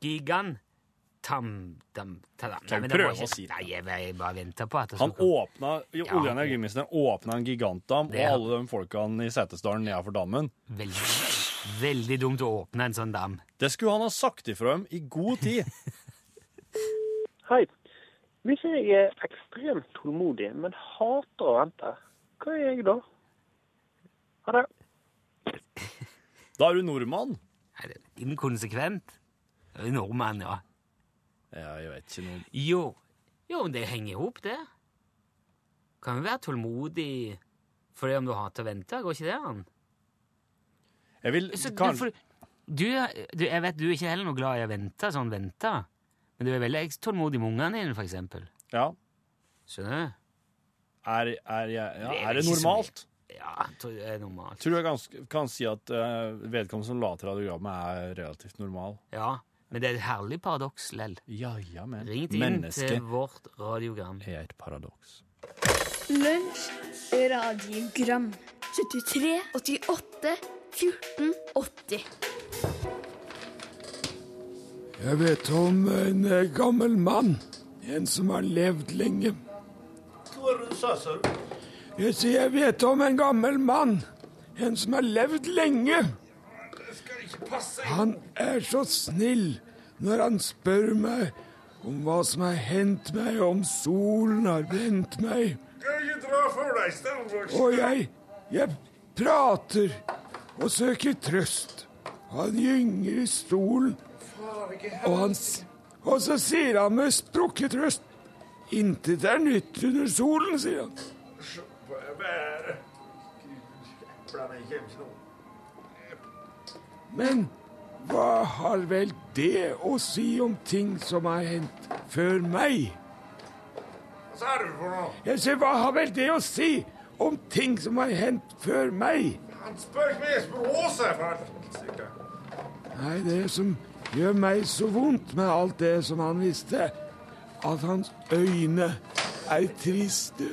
[SPEAKER 2] Gigantamdam
[SPEAKER 3] Kan vi prøve å si det?
[SPEAKER 2] Nei, jeg, jeg bare venter på at det
[SPEAKER 3] Han
[SPEAKER 2] skal komme.
[SPEAKER 3] åpna, Olje- og energiministeren åpna en gigantdam, og
[SPEAKER 2] er han.
[SPEAKER 3] alle de folkene i Setesdalen nedenfor dammen
[SPEAKER 2] Veldig, veldig dumt å åpne en sånn dam.
[SPEAKER 3] Det skulle han ha sagt ifra dem i god tid!
[SPEAKER 11] Hei. Hvis jeg er ekstremt tålmodig, men hater å vente, hva er jeg da? Ha det.
[SPEAKER 3] Da er du nordmann!
[SPEAKER 2] Nei, det- Inkonsekvent? Det er jo Nordmann, ja.
[SPEAKER 3] Ja, jeg vet ikke noe
[SPEAKER 2] Jo, jo men det henger i hop, det. Kan jo være tålmodig fordi om du hater å vente, går ikke det an?
[SPEAKER 3] Jeg vil
[SPEAKER 2] Så
[SPEAKER 3] kan-
[SPEAKER 2] du, for, du, du, jeg vet du er ikke heller noe glad i å vente, sånn vente. Men du er veldig ekst- tålmodig med ungene dine, for eksempel.
[SPEAKER 3] Ja.
[SPEAKER 2] Skjønner du?
[SPEAKER 3] Er, er, jeg- ja,
[SPEAKER 2] Det er
[SPEAKER 3] er det
[SPEAKER 2] ikke så
[SPEAKER 3] normalt?
[SPEAKER 2] Ja, jeg tror det er normalt.
[SPEAKER 3] Tror du jeg ganske, kan si at eh, vedkommende som la til radiogrammet, er relativt normal?
[SPEAKER 2] Ja, men det er et herlig paradoks, Lell.
[SPEAKER 3] Ja, ja, men
[SPEAKER 2] Ring inn
[SPEAKER 3] mennesket
[SPEAKER 2] til vårt radiogram.
[SPEAKER 3] er et paradoks.
[SPEAKER 5] Lunsj radiogram 73 88 14 80
[SPEAKER 12] Jeg vet om en eh, gammel mann. En som har levd lenge.
[SPEAKER 13] Hva var det du sa, sa du?
[SPEAKER 12] Jeg sier jeg vet om en gammel mann. En som har levd lenge. Han er så snill når han spør meg om hva som har hendt meg, om solen har brent meg.
[SPEAKER 1] Kan ikke dra for deg, Steinvåg.
[SPEAKER 12] Og jeg, jeg prater og søker trøst. Han gynger i stolen, og, han, s- og så sier han med sprukket røst Intet er nytt under solen, sier han. Men hva har vel det å si om ting som har hendt før meg?
[SPEAKER 1] Hva sa du for noe?
[SPEAKER 12] Jeg sier, hva har vel det å si om ting som har hendt før meg?
[SPEAKER 1] Han spør meg jeg spør Åse, for helsike.
[SPEAKER 12] Nei, det som gjør meg så vondt med alt det som han visste, at hans øyne er triste.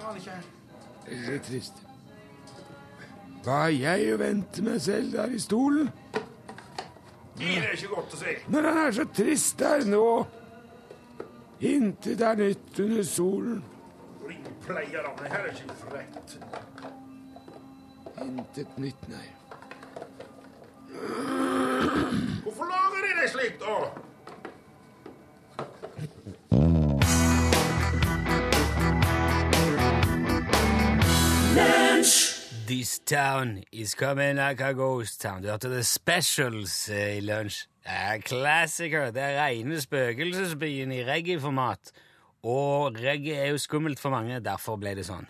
[SPEAKER 1] Faen ikke.
[SPEAKER 12] Veldig triste. Hva har jeg å vente meg selv der i stolen?
[SPEAKER 1] Det er ikke godt å si.
[SPEAKER 12] Når han er så trist der nå. Intet er nytt under solen.
[SPEAKER 1] Ring pleier av det her er ikke frekt.
[SPEAKER 12] Intet nytt, nei.
[SPEAKER 1] Hvorfor lager de deg slik, da?
[SPEAKER 2] This town is coming like a ghost town. Du hørte The Specials eh, i lunsj. Det er klassiker. Det er rene spøkelsesbyen i reggae-format. Og reggae er jo skummelt for mange, derfor ble det sånn.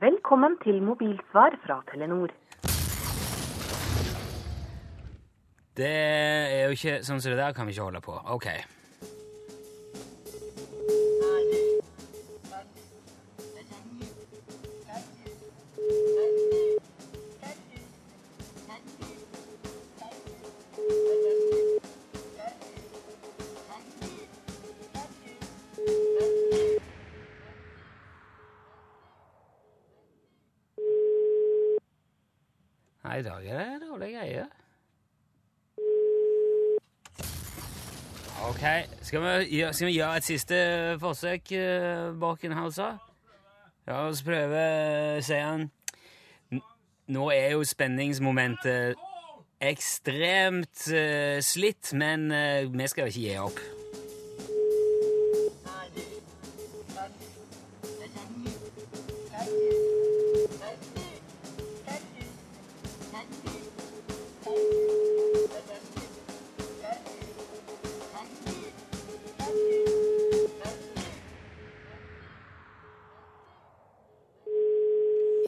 [SPEAKER 14] Velkommen til mobilsvar fra Telenor.
[SPEAKER 2] Det er jo ikke Sånn som det der kan vi ikke holde på. OK. Nei, i dag er det dårlige greier. OK. Skal vi, gjø- skal vi gjøre et siste forsøk, eh, Borkenhauser? La oss prøve, sier han. N- Nå er jo spenningsmomentet ekstremt eh, slitt, men eh, vi skal jo ikke gi opp.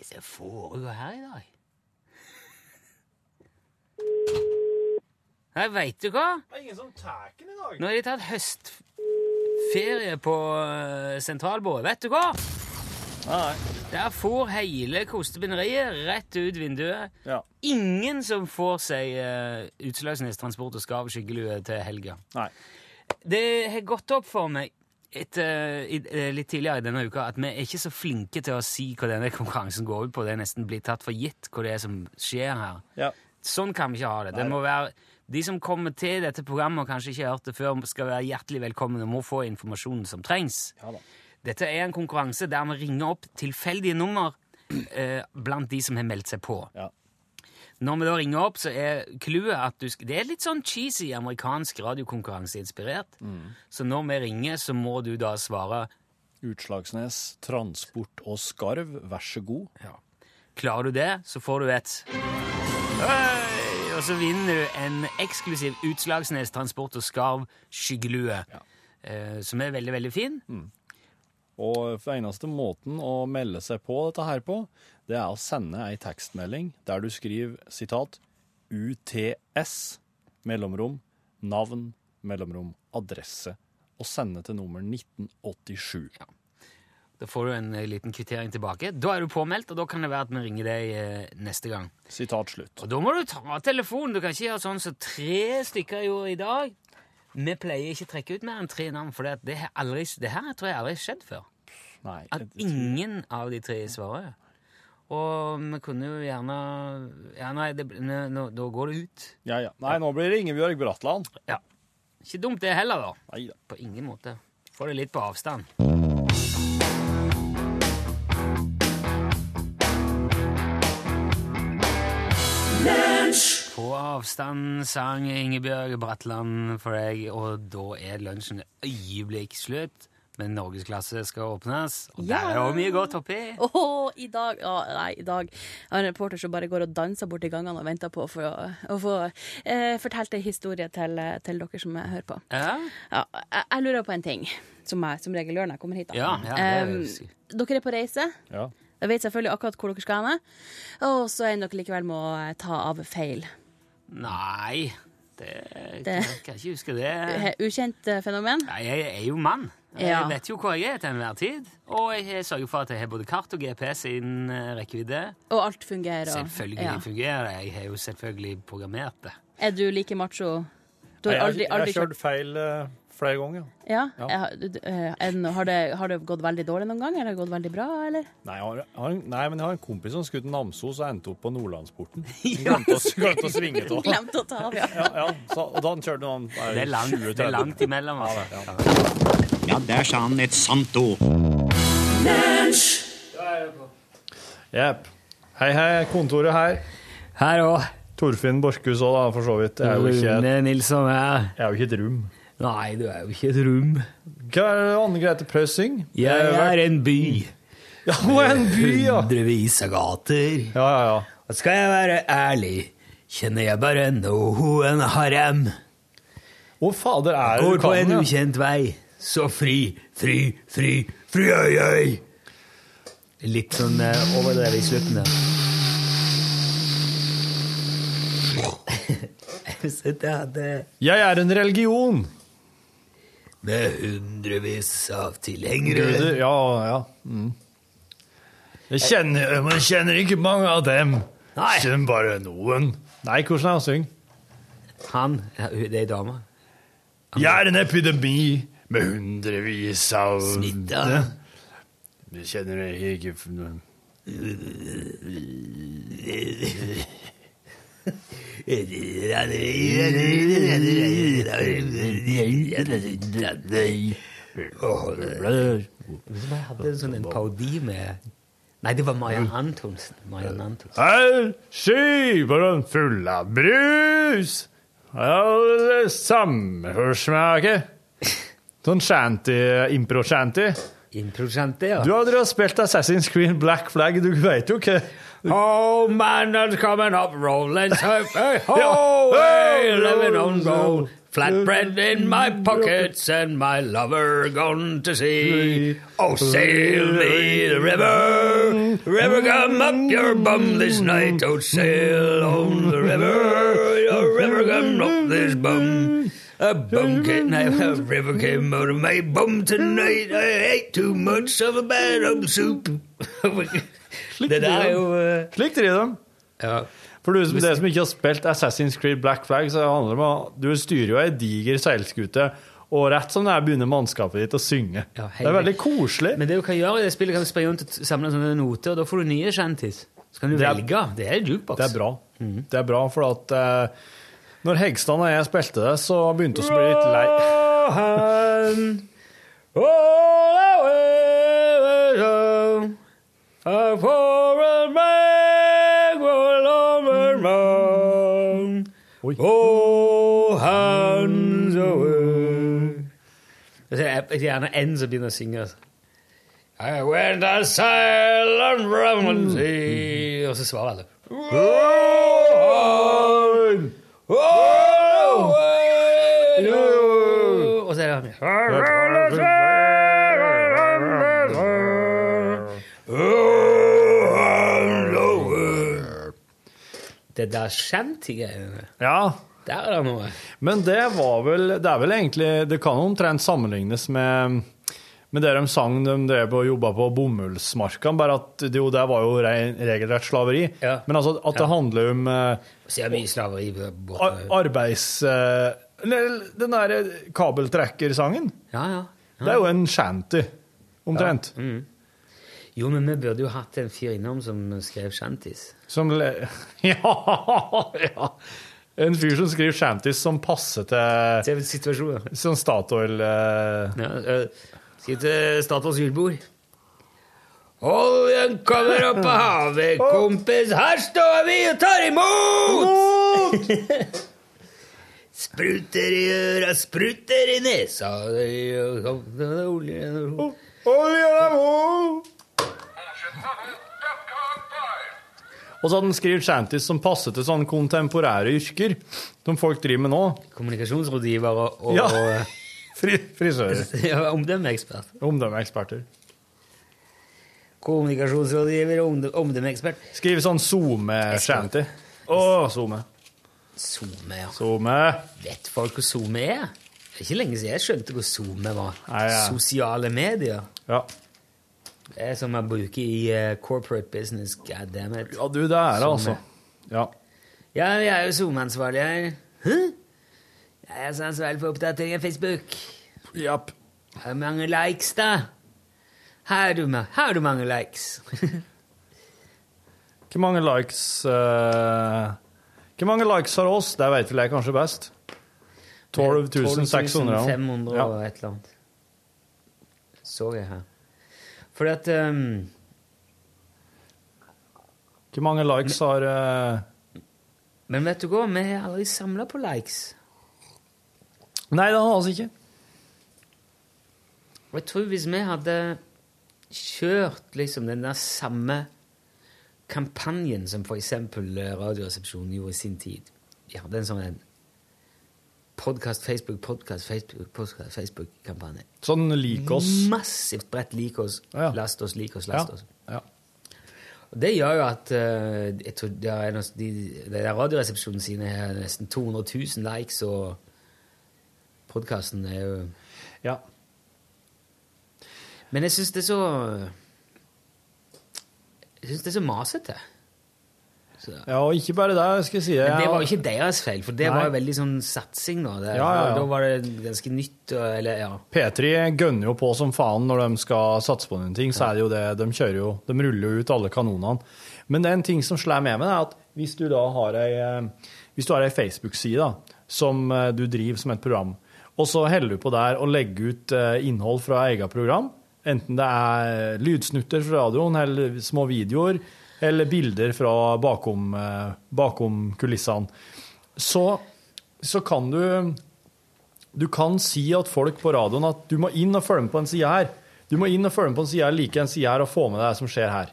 [SPEAKER 2] Hva foregår her i dag? Nei, veit du hva?
[SPEAKER 13] Det er ingen som tar den i dag.
[SPEAKER 2] Nå har de tatt høstferie på eh, sentralbordet. Vet du hva? Der for hele kostebinderiet rett ut vinduet. Ingen som får seg uh, Utslagsnes Transport og Skarv skyggelue til helga. Det har gått opp for meg etter, i, eh, litt tidligere i denne uka at vi er ikke så flinke til å si hva denne konkurransen går ut på. Det er nesten blitt tatt for gitt hva det er som skjer her. Sånn kan vi ikke ha det. det
[SPEAKER 3] Nei.
[SPEAKER 2] må være, de som kommer til dette programmet og kanskje ikke har hørt det før, skal være hjertelig velkommen og må få informasjonen som trengs. Dette er en konkurranse der vi ringer opp tilfeldige nummer eh, blant de som har meldt seg på. Når vi da ringer opp, så er clouet at du skal Det er litt sånn cheesy amerikansk radiokonkurranseinspirert. Så når vi ringer, så må du da svare
[SPEAKER 3] Utslagsnes, transport og skarv, vær så god.
[SPEAKER 2] Klarer du det, så får du et Hei! Og så vinner du en eksklusiv Utslagsnes Transport og Skarv skyggelue, eh, som er veldig, veldig fin.
[SPEAKER 3] Og for eneste måten å melde seg på dette her på, det er å sende ei tekstmelding der du skriver sitat UTS, mellomrom, navn, mellomrom, adresse, og sende til nummer 1987.
[SPEAKER 2] Da får du en eh, liten kvittering tilbake. Da er du påmeldt, og da kan det være at vi ringer deg eh, neste gang.
[SPEAKER 3] Sitat slutt.
[SPEAKER 2] Og da må du ta telefonen. Du kan ikke gjøre sånn som tre stykker gjorde i dag. Vi pleier ikke å trekke ut mer enn tre navn, for det, at det, har aldri, det her tror jeg aldri har skjedd før.
[SPEAKER 3] Nei,
[SPEAKER 2] At ingen av de tre svarer. Og vi kunne jo gjerne Ja, nei, det, nå, nå- da går det ut.
[SPEAKER 3] Ja, ja. Nei, nå blir det Ingebjørg Bratland.
[SPEAKER 2] Ja. Ikke dumt det heller, da. På ingen måte. Få det litt på avstand. På avstand sang Ingebjørg Bratland for deg, og da er lunsjen øyeblikk slutt. Men norgesklasse skal åpnes, og
[SPEAKER 15] Ja.
[SPEAKER 2] der er også mye godt oppi.
[SPEAKER 15] Åh, i dag Å, nei, i dag Jeg har en reporter som bare går og danser borti gangene og venter på å få, å få eh, fortalt en historie til, eh, til dere som hører på.
[SPEAKER 2] Ja.
[SPEAKER 15] Ja, jeg, jeg lurer på en ting, som jeg som regel gjør når jeg kommer hit. Da.
[SPEAKER 2] Ja, ja, det er
[SPEAKER 15] Em,
[SPEAKER 2] jo sikkert.
[SPEAKER 15] dere er på reise.
[SPEAKER 3] Ja.
[SPEAKER 15] Dere vet selvfølgelig akkurat hvor dere skal hen. Og så ender dere likevel med å eh, ta av feil.
[SPEAKER 2] Nei, det,
[SPEAKER 15] Det-
[SPEAKER 2] Jeg kan ikke huske det.
[SPEAKER 15] Det er et ukjent eh, fenomen.
[SPEAKER 2] Nei, jeg er jo mann. Jeg
[SPEAKER 15] Ja.
[SPEAKER 2] vet jo hvor jeg er til enhver tid. Og jeg sørger for at jeg har både kart og GPS innen eh, rekkevidde.
[SPEAKER 15] Og alt fungerer. og-
[SPEAKER 2] Selvfølgelig
[SPEAKER 15] ja.
[SPEAKER 2] fungerer det. Jeg har jo selvfølgelig programmert det.
[SPEAKER 15] Er du like macho? Du har
[SPEAKER 3] Nei,
[SPEAKER 15] aldri,
[SPEAKER 3] jeg, har-
[SPEAKER 15] aldri
[SPEAKER 3] jeg har kjørt feil eh, flere ganger.
[SPEAKER 15] Ja?
[SPEAKER 3] Ja.
[SPEAKER 15] Jeg har- du- du- eh, er den- har, det, har det gått veldig dårlig noen gang, eller har det gått veldig bra, eller?
[SPEAKER 3] Nei, jeg har, jeg har, en- nei, men jeg har en kompis som skulle til Namsos og endte opp på Nordlandsporten. Han Glemte å, glemte å svinge av.
[SPEAKER 15] Glemte å ta av, ja.
[SPEAKER 3] ja, ja. Så, og da kjørte han eh,
[SPEAKER 2] Det er langt,
[SPEAKER 3] 20-30.
[SPEAKER 2] det er langt imellom. Altså.
[SPEAKER 16] Ja, der sa han et sant ord.
[SPEAKER 3] Jepp. Hei, hei, kontoret her.
[SPEAKER 2] Her òg.
[SPEAKER 3] Torfinn Borchhus òg, da, for så vidt. Jeg er jo ikke,
[SPEAKER 2] Mm. Nilsson her.
[SPEAKER 3] jeg er jo ikke et rom.
[SPEAKER 2] Nei, du er jo ikke et rom.
[SPEAKER 3] Hva er det Anne Grete Preus synger?
[SPEAKER 2] Jeg er en by.
[SPEAKER 3] Ja, hun er en by, ja.
[SPEAKER 2] Hundrevis av gater.
[SPEAKER 3] Ja, ja, ja.
[SPEAKER 2] Og skal jeg være ærlig, kjenner jeg bare noen harem.
[SPEAKER 3] Å, fader, er
[SPEAKER 2] Går
[SPEAKER 3] du
[SPEAKER 2] på
[SPEAKER 3] kan,
[SPEAKER 2] en
[SPEAKER 3] ja.
[SPEAKER 2] ukjent vei, så fri, fri, fri, fri, øy, øy. Litt sånn eh, overdrevet i slutten der. Så det hadde
[SPEAKER 3] Jeg er en religion.
[SPEAKER 2] Med hundrevis av
[SPEAKER 3] Guder,
[SPEAKER 2] tilhengere.
[SPEAKER 3] ja, ja. Mm. Jeg kjenner, jeg kjenner ikke mange av dem. Nei. Kjenner bare noen. Nei, hvordan er han syng?
[SPEAKER 2] Han, ja, hun- det er dama.
[SPEAKER 3] Jeg er en epidemi med hundrevis av
[SPEAKER 2] Smitta.
[SPEAKER 3] Du kjenner det ikke
[SPEAKER 2] Jeg hadde en sånn en parodi med Nei, det var Mariann Antonsen. Mariann Antonsen.
[SPEAKER 3] Her skyver den Eh, full av brus. Alle samhørssmake. Sånn shanty, impro-shanty.
[SPEAKER 2] Impro-shanty, ja.
[SPEAKER 3] Du har drevet og spilt Assassin's Creed Black Flag, du vet jo hva
[SPEAKER 2] Oh, man, that's coming up, rolling surf. Hey,
[SPEAKER 3] ho,
[SPEAKER 2] hey, living on gold. Flatbread in my pockets and my lover gone to sea. Oh, sail me the river. River, come up your bum this night. Oh, sail on the river. Your river, come up this bum. A bum came, no, a river came out of my bum tonight. I ate too much of a bad old soup. det der er jo
[SPEAKER 3] Slik driver de.
[SPEAKER 2] uh,
[SPEAKER 3] For du, som- det som ikke har spilt Assassin's Creed Black Flag, så handler det om at du styrer jo ei diger seilskute, og rett som det er begynner mannskapet ditt å synge. det er veldig koselig.
[SPEAKER 2] Men det du kan gjøre i det spillet, kan du spille rundt og samle sånne noter, og da får du nye kjentis. Så kan du velge. Det er jukebox.
[SPEAKER 3] Det er bra. Det er bra, for at eh, når Hegstad og jeg spilte det, så begynte vi å bli litt lei.
[SPEAKER 2] For a man will over
[SPEAKER 17] man og hans
[SPEAKER 2] Det er gjerne en som begynner å synge. altså.
[SPEAKER 17] I
[SPEAKER 2] er
[SPEAKER 17] went a silent Ramsey
[SPEAKER 2] Og så svarer alle.
[SPEAKER 17] on,
[SPEAKER 2] Og så er det han Det er der shanty-greiene.
[SPEAKER 3] Ja.
[SPEAKER 2] Der er det noe.
[SPEAKER 3] Men det var vel Det er vel egentlig Det kan omtrent sammenlignes med med det de sang de drev og jobba på bomullsmarkene, bare at det jo, det var jo rein, regelrett slaveri. Men altså at det handler om eh,
[SPEAKER 2] Så er det mye slaveri på båten.
[SPEAKER 3] ar arbeids... Eh, eller den der kabeltrekkersangen.
[SPEAKER 2] Ja, ja.
[SPEAKER 3] Det er jo en shanty, omtrent.
[SPEAKER 2] Ja. Mm. Jo, men vi burde jo hatt en fyr innom som skrev shanties.
[SPEAKER 3] Som le ja, ja! En fyr som skriver shanties som passer til
[SPEAKER 2] Til situasjonen.
[SPEAKER 3] Som Statoil eh.
[SPEAKER 2] Skal til Statoils eh, julebord. Oljen kommer opp av havet, kompis. Her står vi og tar imot! spruter i øra, spruter i nesa
[SPEAKER 17] Oljen er vond!
[SPEAKER 3] Og så at han skriver shanties som passer til sånne kontemporære yrker som folk driver med nå.
[SPEAKER 2] Kommunikasjonsrådgivere og
[SPEAKER 3] ja. Fri frisører.
[SPEAKER 2] Ja, Omdømmeekspert.
[SPEAKER 3] Omdømmeeksperter.
[SPEAKER 2] Kommunikasjonsrådgiver og omdø- omdømmeekspert.
[SPEAKER 3] Skriv sånn SoMe-shanty. Å, SoMe.
[SPEAKER 2] SoMe, ja.
[SPEAKER 3] SoMe.
[SPEAKER 2] Vet folk hva SoMe er? Det er ikke lenge siden jeg skjønte hva SoMe var.
[SPEAKER 3] ja.
[SPEAKER 2] Sosiale medier.
[SPEAKER 3] Ja.
[SPEAKER 2] Det er som jeg bruker i eh, corporate business, god damn it.
[SPEAKER 3] Ja, du, det er det, altså. Ja.
[SPEAKER 2] Ja, jeg er jo SoMe-ansvarlig her. Hæ? Jeg er så ansvarlig for oppdatering av Facebook.
[SPEAKER 3] Japp.
[SPEAKER 2] Hvor mange likes, da? Har du, ma- har du mange likes?
[SPEAKER 3] Hvor mange likes eh, Hvor mange likes har oss? Det vet vel jeg kanskje best. 12 600.
[SPEAKER 2] 500 og et eller annet. Så jeg her. Fordi at ehm,
[SPEAKER 3] Hvor mange likes har eh,
[SPEAKER 2] Men vet du hva, vi har aldri samla på likes.
[SPEAKER 3] Nei, det har vi altså ikke.
[SPEAKER 2] Og jeg tror hvis vi hadde kjørt liksom den der samme kampanjen som f.eks. Radioresepsjonen gjorde i sin tid Vi hadde en sånn en podkast, Facebook, podkast, Facebook, podcast, Facebook-kampanje.
[SPEAKER 3] Sånn lik oss. altså.
[SPEAKER 2] Massivt bredt lik oss. Last oss, lik oss, last
[SPEAKER 3] Mm. Ja,
[SPEAKER 2] oss. Og det gjør jo at eh, jeg tror det er noe, de, de der Radioresepsjonen sine har nesten 200 000 likes, og podkasten er jo
[SPEAKER 3] Ja.
[SPEAKER 2] Men jeg syns det er så Jeg syns det er så masete.
[SPEAKER 3] Ja, og ikke bare det, skal jeg si.
[SPEAKER 2] Men det
[SPEAKER 3] Jeg-
[SPEAKER 2] var jo ikke deres feil, for det
[SPEAKER 3] Nei.
[SPEAKER 2] var jo veldig sånn satsing nå.
[SPEAKER 3] Ja,
[SPEAKER 2] Det,
[SPEAKER 3] ja, ja.
[SPEAKER 2] Da var det ganske nytt, og- eller ja.
[SPEAKER 3] P3 gønner jo på som faen når de skal satse på noen ting, så er det jo det, de kjører jo, de ruller jo ut alle kanonene. Men det er en ting som slår med meg, det er at hvis du da har ei, eh, hvis du har ei Facebook-side da, som eh, du driver som et program, og så heller du på der og legger ut eh, innhold fra eget program, enten det er lydsnutter fra radioen, eller små videoer, eller bilder fra bakom, eh, bakom kulissene, så, så kan du du kan si at folk på radioen at du må inn og følge med på en side her. Du må inn og følge med på en side her, like en side her, og få med deg det som skjer her.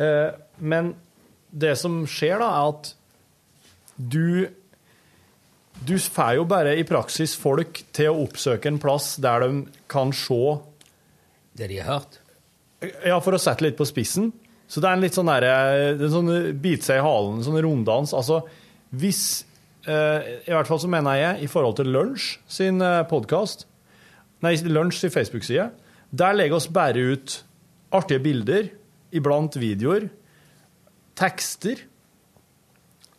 [SPEAKER 3] Eh, men det som skjer da, er at du Du får jo bare i praksis folk til å oppsøke en plass der de kan se
[SPEAKER 2] Det de har hørt.
[SPEAKER 3] Ja, for å sette litt på spissen. Så det er en litt sånn derre det er en sånn bite seg i halen, en sånn runddans. Altså hvis eh, I hvert fall så mener jeg, i forhold til Lunsj sin podkast Nei, Lunsj sin Facebook-side. Der legger oss bare ut artige bilder, iblant videoer, tekster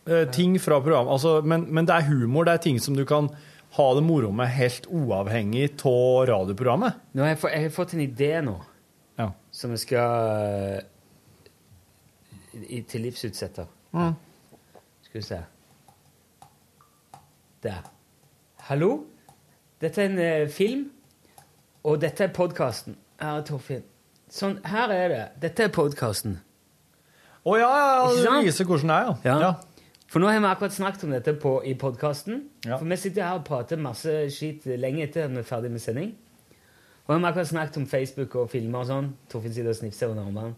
[SPEAKER 3] eh, Ting fra programmet. Altså, men, men det er humor, det er ting som du kan ha det moro med helt uavhengig av radioprogrammet.
[SPEAKER 2] Nå har jeg, fått, jeg har fått en idé nå,
[SPEAKER 3] Ja.
[SPEAKER 2] som jeg skal eh, i, til livsutsette.
[SPEAKER 17] Mm.
[SPEAKER 2] Skal vi se. Der. Hallo? Dette er en eh, film, og dette er podkasten. Her er Torfinn. Sånn, her er det. Dette er podkasten.
[SPEAKER 3] Å ja, ja,
[SPEAKER 2] Ikke
[SPEAKER 3] ja,
[SPEAKER 2] sant?
[SPEAKER 3] det viser hvordan det er, ja. ja.
[SPEAKER 2] For nå har vi akkurat snakket om dette på, i podkasten. For vi sitter her og prater masse skit lenge etter at vi er ferdig med sending. Og vi har akkurat snakket om Facebook og filmer og sånn. Torfinn sitter og snifser under armene.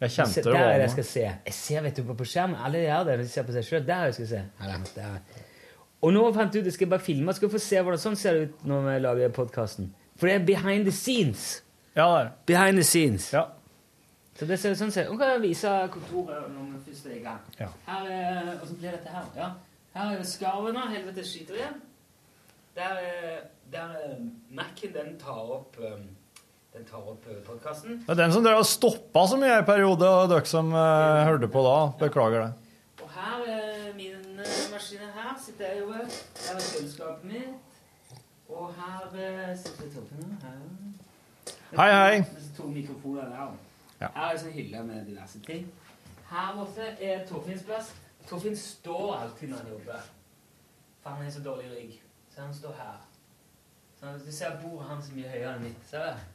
[SPEAKER 3] Jeg kjente det
[SPEAKER 2] Der
[SPEAKER 3] var
[SPEAKER 2] er det
[SPEAKER 3] noe.
[SPEAKER 2] jeg skal se. Jeg ser vet du, på, på skjermen. Alle gjør det. De ser på seg selv. Der er det jeg skal se. Ja, der, der. Og nå fant jeg ut jeg skal bare filme. Jeg skal få se hvordan sånn ser det ut når vi lager podkasten. For det er behind the scenes.
[SPEAKER 3] Ja, det er det.
[SPEAKER 2] Behind the scenes.
[SPEAKER 3] Ja.
[SPEAKER 2] Så det ser ut sånn ser Nå kan jeg vise kontoret når vi først er i gang.
[SPEAKER 3] Ja.
[SPEAKER 2] Her er, og så blir dette her. Ja. Her er skarven av helvete skiter igjen. Der, er- der er Mac-en den tar opp um, Den tar opp podkasten.
[SPEAKER 3] Det er den som dere har stoppa så mye i en periode, og dere som eh, hørte på da, beklager det.
[SPEAKER 2] Og her eh, er mine maskiner her. Sitter jeg over. Her er kjøleskapet mitt. Og her eh, sitter toppen. Her.
[SPEAKER 3] Hei, hei.
[SPEAKER 2] Disse to mikrofoner der.
[SPEAKER 3] Ja.
[SPEAKER 2] Her er en sånn hylle med diverse ting. Her borte er Torfinns plass. Torfinn står alltid når han jobber. For han har så dårlig rygg. Så han står her. Så han, du ser bordet hans er mye høyere enn mitt. Ser du?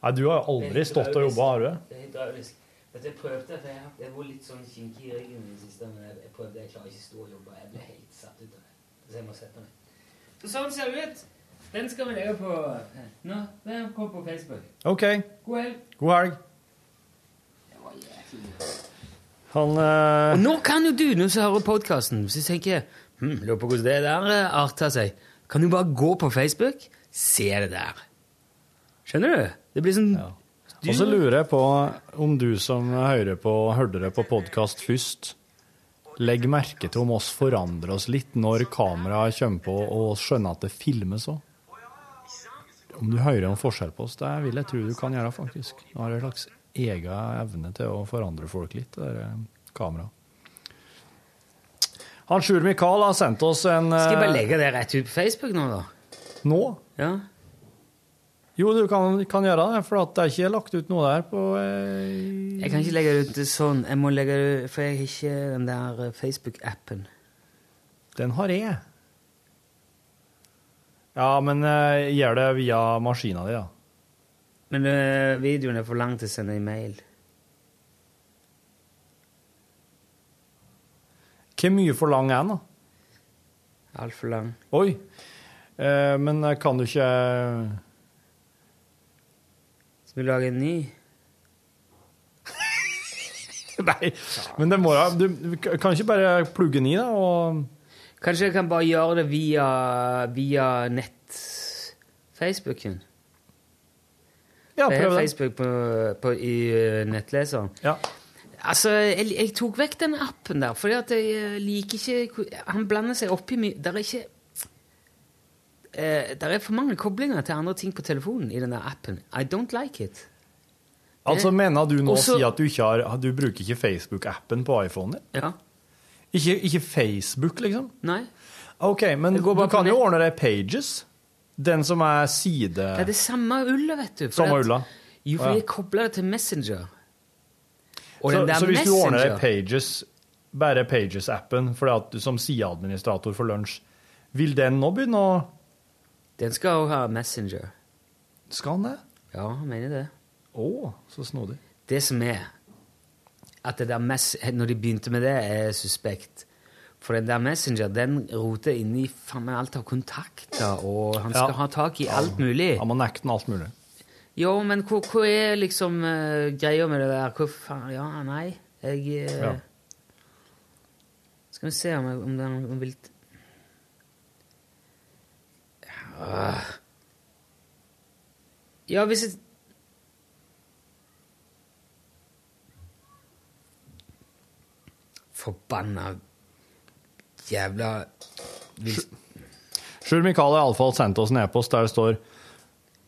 [SPEAKER 3] Nei, du har jo aldri stått og jobba, har du?
[SPEAKER 2] Det er hydraulisk. Vet du, jeg prøvde, for jeg, jeg var litt sånn kinkig i ryggen i det siste, men jeg, jeg prøvde, jeg klarer ikke å stå og jobbe. Jeg ble helt satt ut av det. Så jeg må sette meg. Så sånn ser det ut. Den skal vi legge på eh, Nå, den kom på Facebook.
[SPEAKER 3] OK.
[SPEAKER 2] God helg.
[SPEAKER 3] God helg. Han
[SPEAKER 2] Og nå kan jo du, nå som hører podkasten, hvis du tenker hm, lurer på hvordan det der eh, arter seg, kan du bare gå på Facebook, se det der. Skjønner du? Det blir sånn
[SPEAKER 3] Og så lurer jeg på om du som hører på, hørte det på podkast først, legg merke til om oss forandrer oss litt når kameraet kommer på og oss skjønner at det filmes òg. Om du hører en forskjell på oss, det vil jeg tro du kan gjøre, faktisk. Du har en slags egen evne til å forandre folk litt, det der eh, kameraet. Han Sjur Mikael har sendt oss eh, en
[SPEAKER 2] Skal jeg bare legge det rett ut på Facebook nå, da?
[SPEAKER 3] Nå?
[SPEAKER 2] Ja.
[SPEAKER 3] Jo, du kan, kan gjøre det, for at det er ikke lagt ut noe der på eh,
[SPEAKER 2] Jeg kan ikke legge det ut sånn. Jeg må legge det ut, For jeg har ikke den der eh, Facebook-appen.
[SPEAKER 3] Den har jeg. Ja, men eh, gjør det via maskina di, da.
[SPEAKER 2] Men eh, videoen er for lang til å sende i mail.
[SPEAKER 3] Hvor mye for lang er den, da?
[SPEAKER 2] Altfor lang.
[SPEAKER 3] Oi. Eh, men eh, kan du ikke
[SPEAKER 2] Skal vi lage en ny?
[SPEAKER 3] Nei, men det må da Du du kan ikke bare plugge den i, da, og
[SPEAKER 2] Kanskje jeg kan bare gjøre det via, via nett... Facebooken.
[SPEAKER 3] Ja,
[SPEAKER 2] Jeg har
[SPEAKER 3] prøv det.
[SPEAKER 2] Facebook på, på, i eh, nettleseren. Altså, jeg, jeg tok vekk den appen der, fordi at jeg eh, liker ikke hvor- Han blander seg opp i mye Der er ikke eh, Der er for mange koblinger til andre ting på telefonen i den der appen. I don't like it.
[SPEAKER 3] Altså, mener du nå å
[SPEAKER 2] Også-
[SPEAKER 3] si at du ikke har Du bruker ikke Facebook-appen på iPhonen din?
[SPEAKER 2] Ja.
[SPEAKER 3] Ikke, ikke Facebook, liksom?
[SPEAKER 2] Nei.
[SPEAKER 3] OK, men du kan jo ordne deg Pages. Den som er side...
[SPEAKER 2] Det er det samme ulla, vet du. fordi
[SPEAKER 3] Samme
[SPEAKER 2] at-
[SPEAKER 3] ulla.
[SPEAKER 2] Jo, for
[SPEAKER 3] Å, ja.
[SPEAKER 2] jeg kobler det til Messenger. Og
[SPEAKER 3] så,
[SPEAKER 2] den der
[SPEAKER 3] så hvis du ordner deg
[SPEAKER 2] Messenger-
[SPEAKER 3] Pages, bare Pages-appen, fordi at du som sideadministrator for lunsj, vil den nå begynne å
[SPEAKER 2] Den skal også ha Messenger.
[SPEAKER 3] Skal han det?
[SPEAKER 2] Ja, han mener det.
[SPEAKER 3] Å, så snodig.
[SPEAKER 2] Det som er at det der mess Når de begynte med det, er suspekt. For den der Messenger den roter inn i faen meg alt av kontakter, og han skal ha tak i alt mulig.
[SPEAKER 3] Han må nekte den alt mulig.
[SPEAKER 2] Jo, men hva, hva er liksom eh, greia med det der? Hva faen Ja, nei. Jeg eh,
[SPEAKER 3] Ja.
[SPEAKER 2] Skal vi se om, jeg, om den om vil Ah. Ja, hvis jeg Forbanna jævla hvis,
[SPEAKER 3] Sjur Mikael har iallfall sendt oss en e-post der det står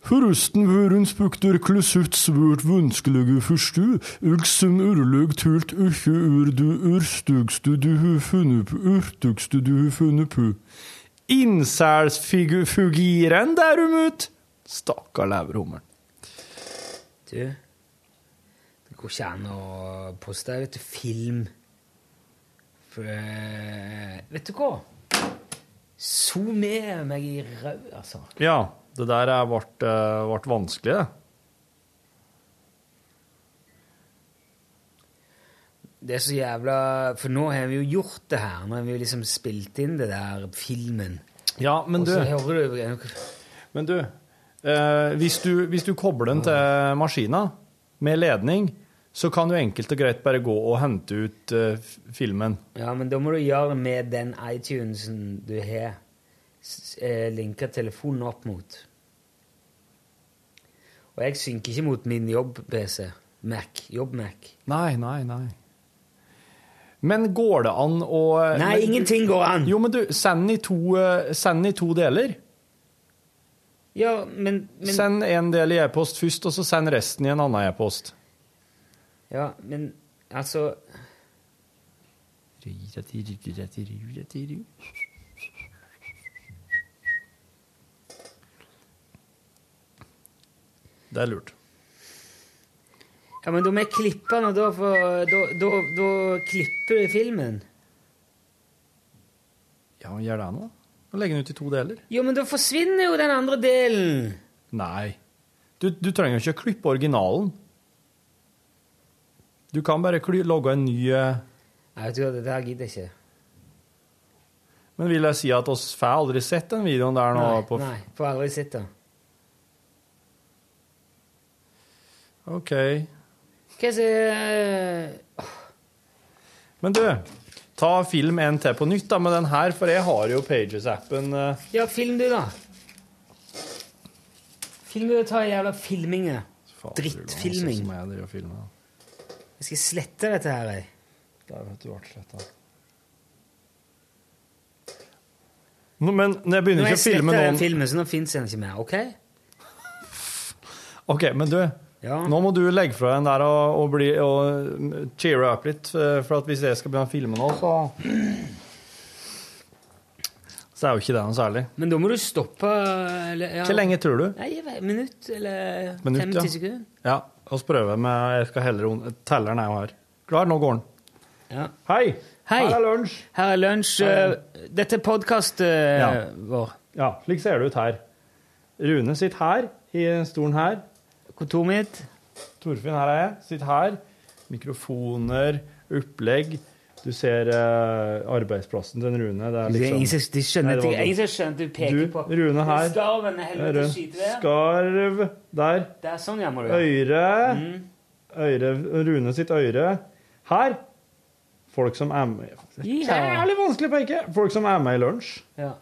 [SPEAKER 3] Forresten vørens bukter klusutt svært vanskelige forstu, og som urløg tult ikke ur du urstugste du har funnet på, urtugste du har funnet på. Innselsfugiren derumut! Stakkar leverhummeren.
[SPEAKER 2] Du, det går ikke an å poste vet du, film. For, eh, vet du hva? Zoomer meg i rød, altså.
[SPEAKER 3] Ja, det der er vart, eh, vart vanskelig, det.
[SPEAKER 2] Det er så jævla For nå har vi jo gjort det her. Nå har vi jo liksom spilt inn det der filmen.
[SPEAKER 3] Ja, men
[SPEAKER 2] Og
[SPEAKER 3] du
[SPEAKER 2] så hører du
[SPEAKER 3] Men du, eh, hvis du, hvis du kobler den til maskina med ledning, så kan du enkelt og greit bare gå og hente ut eh, f- filmen.
[SPEAKER 2] Ja, men da må du gjøre med den iTunesen du har, s- eh, linke telefonen opp mot. Og jeg synker ikke mot min jobb-PC. Mac. Jobb-Mac.
[SPEAKER 3] Nei, nei, nei. Men går det an å
[SPEAKER 2] Nei, ingenting går an!
[SPEAKER 3] Eh, Jo, men du, send den i to, eh, send den i to deler.
[SPEAKER 2] Ja, men, men
[SPEAKER 3] Send en del i e-post først, og så send resten i en annen e-post.
[SPEAKER 2] Ja, men altså
[SPEAKER 3] Det er lurt.
[SPEAKER 2] Ja, men da må jeg klippe den, og da, får- da, da, da klipper du filmen.
[SPEAKER 3] Ja, gjør det nå. Og legg den ut i to deler.
[SPEAKER 2] Jo, men da forsvinner jo den andre delen!
[SPEAKER 3] Nei. Du, du trenger jo ikke å klippe originalen. Du kan bare kly- logge en ny eh,
[SPEAKER 2] Nei, vet du hva, det der gidder jeg ikke.
[SPEAKER 3] Men vil jeg si at oss får aldri sett den videoen der nå?
[SPEAKER 2] Nei,
[SPEAKER 3] på,
[SPEAKER 2] nei, får aldri sett den.
[SPEAKER 3] OK.
[SPEAKER 2] Hva sier
[SPEAKER 3] Men du, ta film en til på nytt da med den her, for jeg har jo Pages-appen. eh.
[SPEAKER 2] Ja, film du, da. Film du, ta jævla filminga. Drittfilming.
[SPEAKER 3] Jeg driver og filmer. da.
[SPEAKER 2] Jeg skal slette dette her, jeg.
[SPEAKER 3] Der vet du ble sletta. Nå, Men når jeg begynner
[SPEAKER 2] Nå
[SPEAKER 3] ikke
[SPEAKER 2] har jeg
[SPEAKER 3] å filme
[SPEAKER 2] slettet den
[SPEAKER 3] noen
[SPEAKER 2] filmen, så nå fins den ikke mer, OK?
[SPEAKER 3] OK, men du, nå må du legge fra deg den der og, og, bli, og cheere opp litt. eh, For at hvis jeg skal begynne å filme nå, så Så er jo ikke det noe særlig.
[SPEAKER 2] Men da må du stoppe eller, ja.
[SPEAKER 3] Hvor lenge tror du?
[SPEAKER 2] Nei, jeg vet, Minutt eller
[SPEAKER 3] Minutt,
[SPEAKER 2] 50 sekunder.
[SPEAKER 3] Ja, oss prøver med Jeg skal heller on- Telleren er jo her. Klar, nå går den.
[SPEAKER 2] Ja.
[SPEAKER 3] Hei!
[SPEAKER 2] Hei.
[SPEAKER 3] Her er lunsj!
[SPEAKER 2] Her er lunsj.
[SPEAKER 3] Hei.
[SPEAKER 2] eh, Dette er podkast
[SPEAKER 3] Ja.
[SPEAKER 2] vår.
[SPEAKER 3] Ja, slik ser det ut her. Rune sitter her, i stolen her.
[SPEAKER 2] Kontoret mitt.
[SPEAKER 3] Torfinn, her er jeg. Sitter her. Mikrofoner, opplegg. Du ser eh, arbeidsplassen til Rune. Det er
[SPEAKER 2] Det er
[SPEAKER 3] liksom
[SPEAKER 2] ingen som- de skjønner
[SPEAKER 3] Nei, det var
[SPEAKER 2] ikke-
[SPEAKER 3] dumt.
[SPEAKER 2] ingen som skjønner at du peker på-
[SPEAKER 3] Rune her.
[SPEAKER 2] Skarven er helvete
[SPEAKER 3] Rund.
[SPEAKER 2] skit ved.
[SPEAKER 3] Skarv der.
[SPEAKER 2] Det er sånn, ja, må du gjøre.
[SPEAKER 3] Øyre. øyre. Rune sitt øyre. Her. Folk som er med Det er litt vanskelig å peke. Folk som er med i lunsj.
[SPEAKER 2] Ja.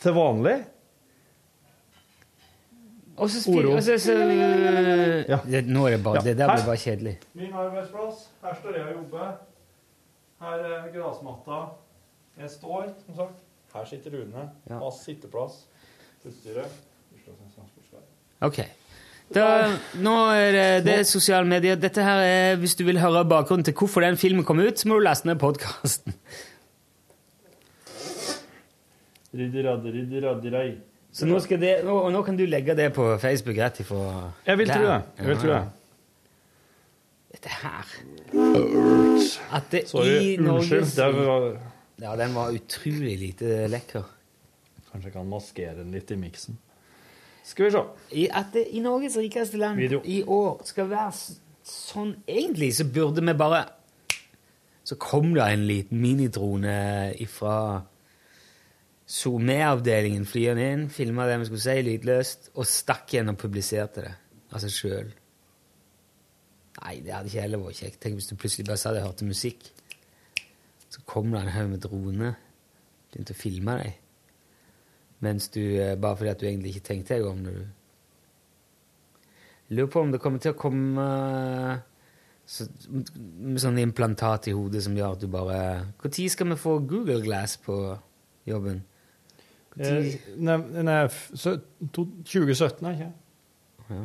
[SPEAKER 3] Til vanlig.
[SPEAKER 2] Og så spiller
[SPEAKER 3] Oro.
[SPEAKER 2] og så, så, det, Nå er det bare
[SPEAKER 3] Ja.
[SPEAKER 2] Det der
[SPEAKER 3] Her.
[SPEAKER 2] blir bare kjedelig.
[SPEAKER 3] Min arbeidsplass. Her står jeg og jobber. Her er gressmatta. Jeg står, som sagt. Her sitter Rune.
[SPEAKER 2] Ja.
[SPEAKER 3] Fast sitteplass. Utstyret. Oslo Transportskole.
[SPEAKER 2] OK. Da, nå er det, det er sosiale medier. Dette her er, Hvis du vil høre bakgrunnen til hvorfor den filmen kom ut, så må du laste ned podkasten.
[SPEAKER 3] Riddi, raddi, riddi, raddi, rei.
[SPEAKER 2] Så nå, skal det, nå, og nå kan du legge det på Facebook rett ifra
[SPEAKER 3] Jeg vil
[SPEAKER 2] der.
[SPEAKER 3] tro det. Jeg vil tro det.
[SPEAKER 2] Dette her At det
[SPEAKER 3] Sorry,
[SPEAKER 2] i Norge
[SPEAKER 3] unnskyld. Det var-
[SPEAKER 2] Ja, den var utrolig lite lekker.
[SPEAKER 3] Kanskje jeg kan maskere den litt i miksen. Skal vi se.
[SPEAKER 2] I, at det i Norges rikeste land
[SPEAKER 3] Video.
[SPEAKER 2] i år skal være s- sånn Egentlig så burde vi bare Så kom det en liten minidrone ifra SoMe-avdelingen, flyr den inn, filma det vi skulle si lydløst, og stakk igjen og publiserte det av seg sjøl. Nei, det hadde ikke heller vært kjekt. Tenk hvis du plutselig bare sa at jeg hørte musikk. Så kom det en haug med droner, begynte å filme deg. Mens du, eh, bare fordi at du egentlig ikke tenkte deg om når du Jeg Lurer på om det kommer til å komme eh, så, med sånn implantat i hodet som gjør at du bare Når skal vi få Google Glass på jobben? Hvor tid-
[SPEAKER 3] Eh, Nei, nei f- sø- to- 2017 er ikke
[SPEAKER 2] Ja.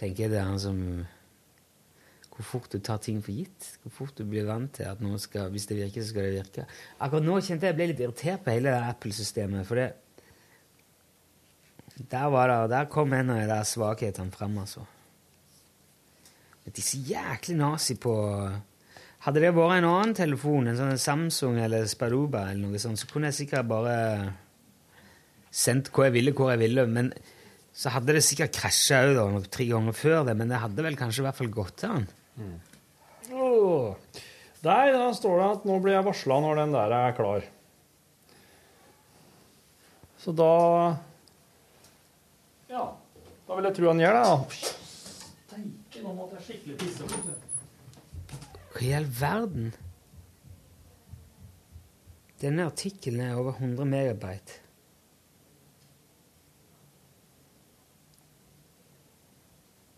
[SPEAKER 2] Tenker jeg det er han som Hvor fort du tar ting for gitt. Hvor fort du blir vant til at nå skal, hvis det virker, så skal det virke. Akkurat nå kjente jeg jeg ble litt irritert på hele det Apple-systemet. For det Der var det, der kom en av de der svakhetene fram, altså. At de er så jæklig nazi på Hadde det vært en annen telefon, en sånn Samsung eller Sparuba, eller noe sånt, så kunne jeg sikkert bare sendt hvor jeg ville, hvor jeg ville. Men så hadde det sikkert krasja òg, da, nok tre ganger før det. Men det hadde vel kanskje i hvert fall gått til han.
[SPEAKER 3] Åh. Der da står det at nå blir jeg varsla når den der er klar. Så da Ja. Da vil jeg tro han gjør det, da.
[SPEAKER 2] Hva i all verden? Denne artikkelen er over 100 megabyte.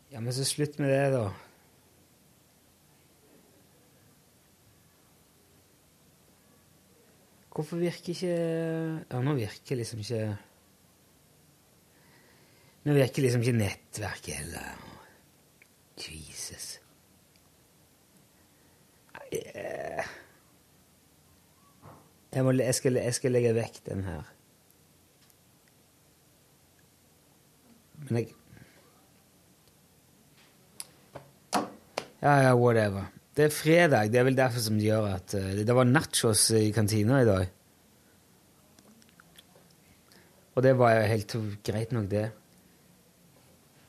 [SPEAKER 2] Ja, men så slutt med det, da. Hvorfor virker ikke Ja, nå virker liksom ikke Nå virker liksom ikke nettverket heller. Jesus. Nei, eh. Jeg, må, jeg, skal, jeg skal legge vekk den her. Men jeg Ja, ja, whatever. Det er fredag. Det er vel derfor som det gjør at eh, Det var nachos i kantina i dag. Og det var jo helt greit nok, det.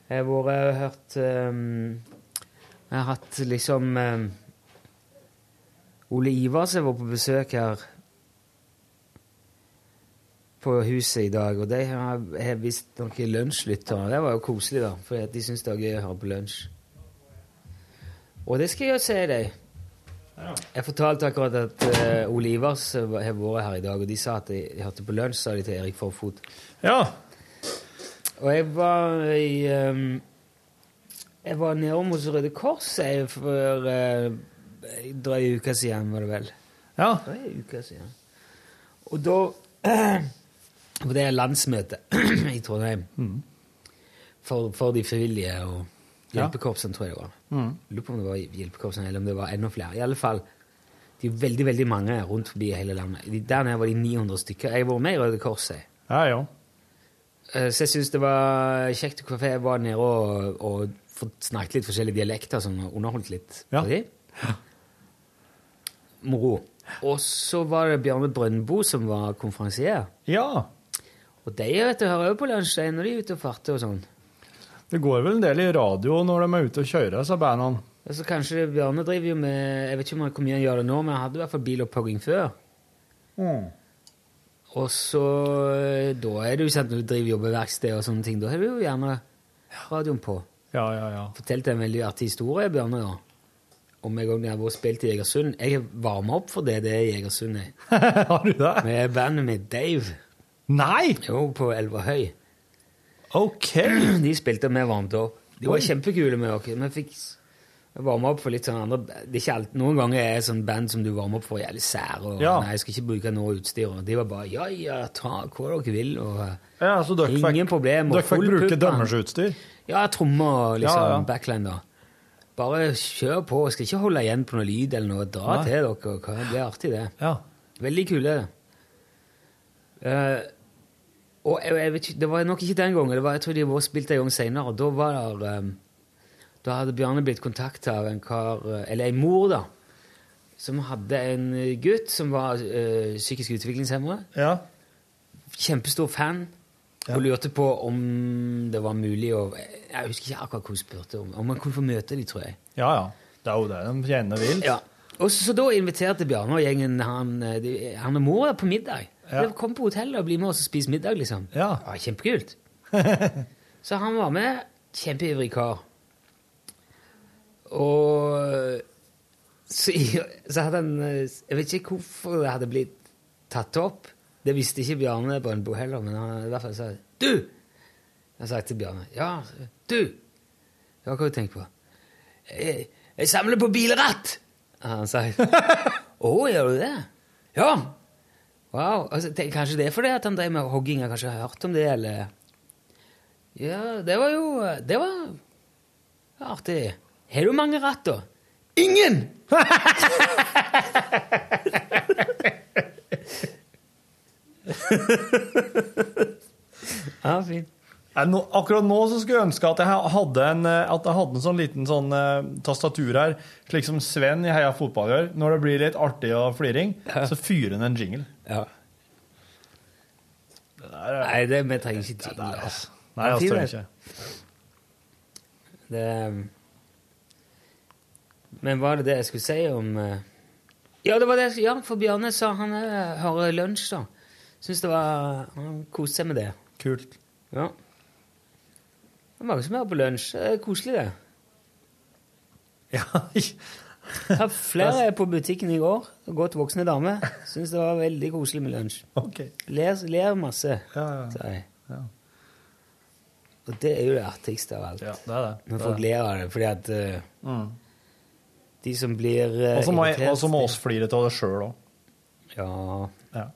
[SPEAKER 2] Jeg har vært og hørt ehm, Jeg har hatt liksom ehm, Ole Ivars har vært på besøk her på huset i dag, og de har, har visst noen lunsjlyttere. Det var jo koselig, da, for de syns det er gøy å høre på lunsj. Og det skal jeg si deg. Jeg fortalte akkurat at eh, Ole Ivars har vært her i dag, og de sa at de, de hørte på lunsj, sa de til Erik Forfot.
[SPEAKER 3] Ja.
[SPEAKER 2] Og jeg var i ehm, Jeg var nede om hos Røde Kors jeg, for uh, drøy uke siden, var det vel.
[SPEAKER 3] Ja.
[SPEAKER 2] Drøy uke siden. Og da For det er landsmøte i Trondheim for, for de frivillige og
[SPEAKER 3] Ja.
[SPEAKER 2] hjelpekorpsene, tror jeg det var.
[SPEAKER 3] Mhm.
[SPEAKER 2] Lurer på om det var hjelpekorpsene, eller om det var enda flere. I alle fall, de er veldig, veldig mange rundt forbi i hele landet. De- Der nede var de 900 stykker. Jeg har vært med i Røde Kors, jeg.
[SPEAKER 3] Ja, ja.
[SPEAKER 2] Eh, Så jeg syns det var kjekt hvorfor jeg var nede og, og fått snakket litt forskjellige dialekter, sånn, og underholdt litt. Ja. Moro. Og så var det Bjarne Brøndbo som var konferansier.
[SPEAKER 3] Ja.
[SPEAKER 2] Og de vet du, hører jo på lunsj de, når de er ute og farter og sånn.
[SPEAKER 3] Det går vel en del i radio når de er ute og kjører, sa bandene.
[SPEAKER 2] Altså, kanskje Bjarne driver jo med Jeg vet ikke om han hvor mye han gjør det nå, men han hadde i hvert fall bilopphogging før.
[SPEAKER 3] Mm.
[SPEAKER 2] Og så eh, Da er det jo sant når du driver jobbeverksted og sånne ting. Da har du jo gjerne radioen på.
[SPEAKER 3] Ja, ja, ja.
[SPEAKER 2] Fortalte en veldig artig historie, Bjarne, da. Om en gang jeg har vært og spilt i Egersund. Jeg varma opp for det det er i Egersund. Jeg.
[SPEAKER 3] har du det?
[SPEAKER 2] Med bandet mitt Dave.
[SPEAKER 3] Nei!
[SPEAKER 2] Jo, på Elverhøy.
[SPEAKER 3] Ok.
[SPEAKER 2] De spilte med varmt opp. De var
[SPEAKER 3] Oi.
[SPEAKER 2] kjempekule med oss. Vi fikk varme opp for litt sånn andre Det er ikke alt, Noen ganger er sånn band som du varmer opp for, jævlig sære. Og,
[SPEAKER 3] Ja.
[SPEAKER 2] Nei, jeg skal ikke bruke noe utstyr. Og de var bare ja, ja, ta hva dere vil. Og,
[SPEAKER 3] Ja, så dere fikk,
[SPEAKER 2] Ingen problem, og
[SPEAKER 3] dere fikk
[SPEAKER 2] full
[SPEAKER 3] bruke
[SPEAKER 2] pupp, han.
[SPEAKER 3] dømmersutstyr?
[SPEAKER 2] ja, trommer og liksom
[SPEAKER 3] Ja, ja.
[SPEAKER 2] backline, da. Bare kjør på. Jeg skal ikke holde igjen på noe lyd eller noe. Dra
[SPEAKER 3] Nei.
[SPEAKER 2] til dere. og hva- Det blir artig, det. Veldig kule. Eh, og jeg, jeg vet ikke, det var nok ikke den gangen. Det var, jeg tror de var spilt en gang senere. og Da var der, eh, da hadde Bjarne blitt kontakta av en kar, eh, eller ei mor, da, som hadde en eh, gutt som var eh, psykisk utviklingshemma. Kjempestor fan. Og lurte på om det var mulig å Jeg husker ikke akkurat hva hun spurte om. Om man kunne få møte dem, tror jeg.
[SPEAKER 3] Ja, ja. Det er jo det de gjerne vil.
[SPEAKER 2] Ja. Og så, så da inviterte Bjarne og gjengen han, eh, de- han og mora på middag.
[SPEAKER 3] Ja.
[SPEAKER 2] De kom på hotellet og bli med oss og spise middag, liksom.
[SPEAKER 3] Ja.
[SPEAKER 2] Det var kjempekult. så han var med. Kjempeivrig kar. Og så, så hadde han eh, Jeg vet ikke hvorfor det hadde blitt tatt opp. Det visste ikke Bjarne Brøndbo heller, men han i hvert fall sa Du! Han sa til Bjarne. Ja, du! Ja, hva har du tenkt på? Jeg, jeg samler på bilratt! Han sa. Å, gjør du det? Ja! Wow. Altså, det, kanskje det er fordi at han drev med hogging? Jeg har kanskje hørt om det, eller Ja, det var jo Det var artig. Har du mange ratt, da? Ingen! Ja, fint.
[SPEAKER 3] Nå, akkurat nå så skulle jeg ønske at jeg ha- hadde en, eh, at jeg hadde en sånn liten sånn eh, tastatur her, slik som Sven i Heia Fotball gjør. Når det blir litt artig og fliring, så fyrer han en jingle.
[SPEAKER 2] Ja. Nei, det, vi trenger ikke jingle. altså.
[SPEAKER 3] Nei, altså, trenger ikke.
[SPEAKER 2] Det ehm, Men var det det jeg skulle si om eh, Ja, det var det jeg skulle ja, for Bjarne sa han eh, hører lunsj, da. Syns det var Han koste seg med det. Kult. Ja. Det er mange som hører på lunsj. Det er koselig, det. Ja, Flere på butikken i går. Godt voksne damer. Syns det var veldig koselig med lunsj.
[SPEAKER 3] Ok.
[SPEAKER 2] Ler, ler masse, sa jeg. Og det er jo det artigste av alt. Når
[SPEAKER 3] Det er
[SPEAKER 2] folk
[SPEAKER 3] det.
[SPEAKER 2] ler av det, fordi at eh,
[SPEAKER 3] Mm.
[SPEAKER 2] de som blir eh,
[SPEAKER 3] Og så må jeg-
[SPEAKER 2] irritert-
[SPEAKER 3] og så må oss flire av det sjøl òg.
[SPEAKER 2] Ja.
[SPEAKER 3] ja.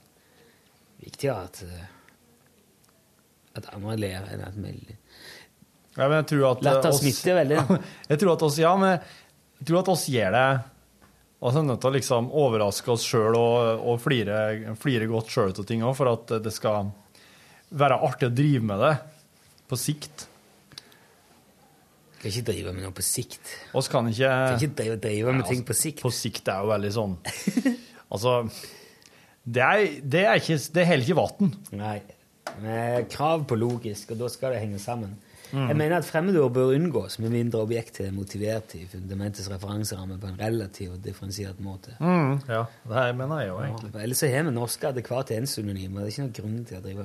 [SPEAKER 2] Viktig at eh, at andre ler enn at vi ler.
[SPEAKER 3] Ja, men jeg tror at eh,
[SPEAKER 2] Lett å
[SPEAKER 3] oss-
[SPEAKER 2] smitte veldig.
[SPEAKER 3] jeg tror at oss, ja, men jeg tror at oss gjør det Altså, vi er nødt til å liksom overraske oss sjøl og, og flire, flire godt sjøl av ting òg, for at det skal være artig å drive med det på sikt.
[SPEAKER 2] Skal ikke drive med noe på sikt.
[SPEAKER 3] Oss kan ikke
[SPEAKER 2] Skal ikke drive, drive med
[SPEAKER 3] altså.
[SPEAKER 2] ting på sikt.
[SPEAKER 3] På sikt er jo veldig sånn Altså Det, er, det, er ikke, det holder ikke vann.
[SPEAKER 2] Nei. Med krav på logisk, og da skal det henge sammen.
[SPEAKER 3] Mm.
[SPEAKER 2] Jeg mener at fremmedord bør unngås med mindre objektet er motivert til fundamentets referanseramme på en relativ og differensiert måte.
[SPEAKER 3] Mm, ja, det her mener jeg jo egentlig.
[SPEAKER 2] Ja, Ellers så har vi norske adekvate ensynonymer. Det er ikke noen grunn til å drive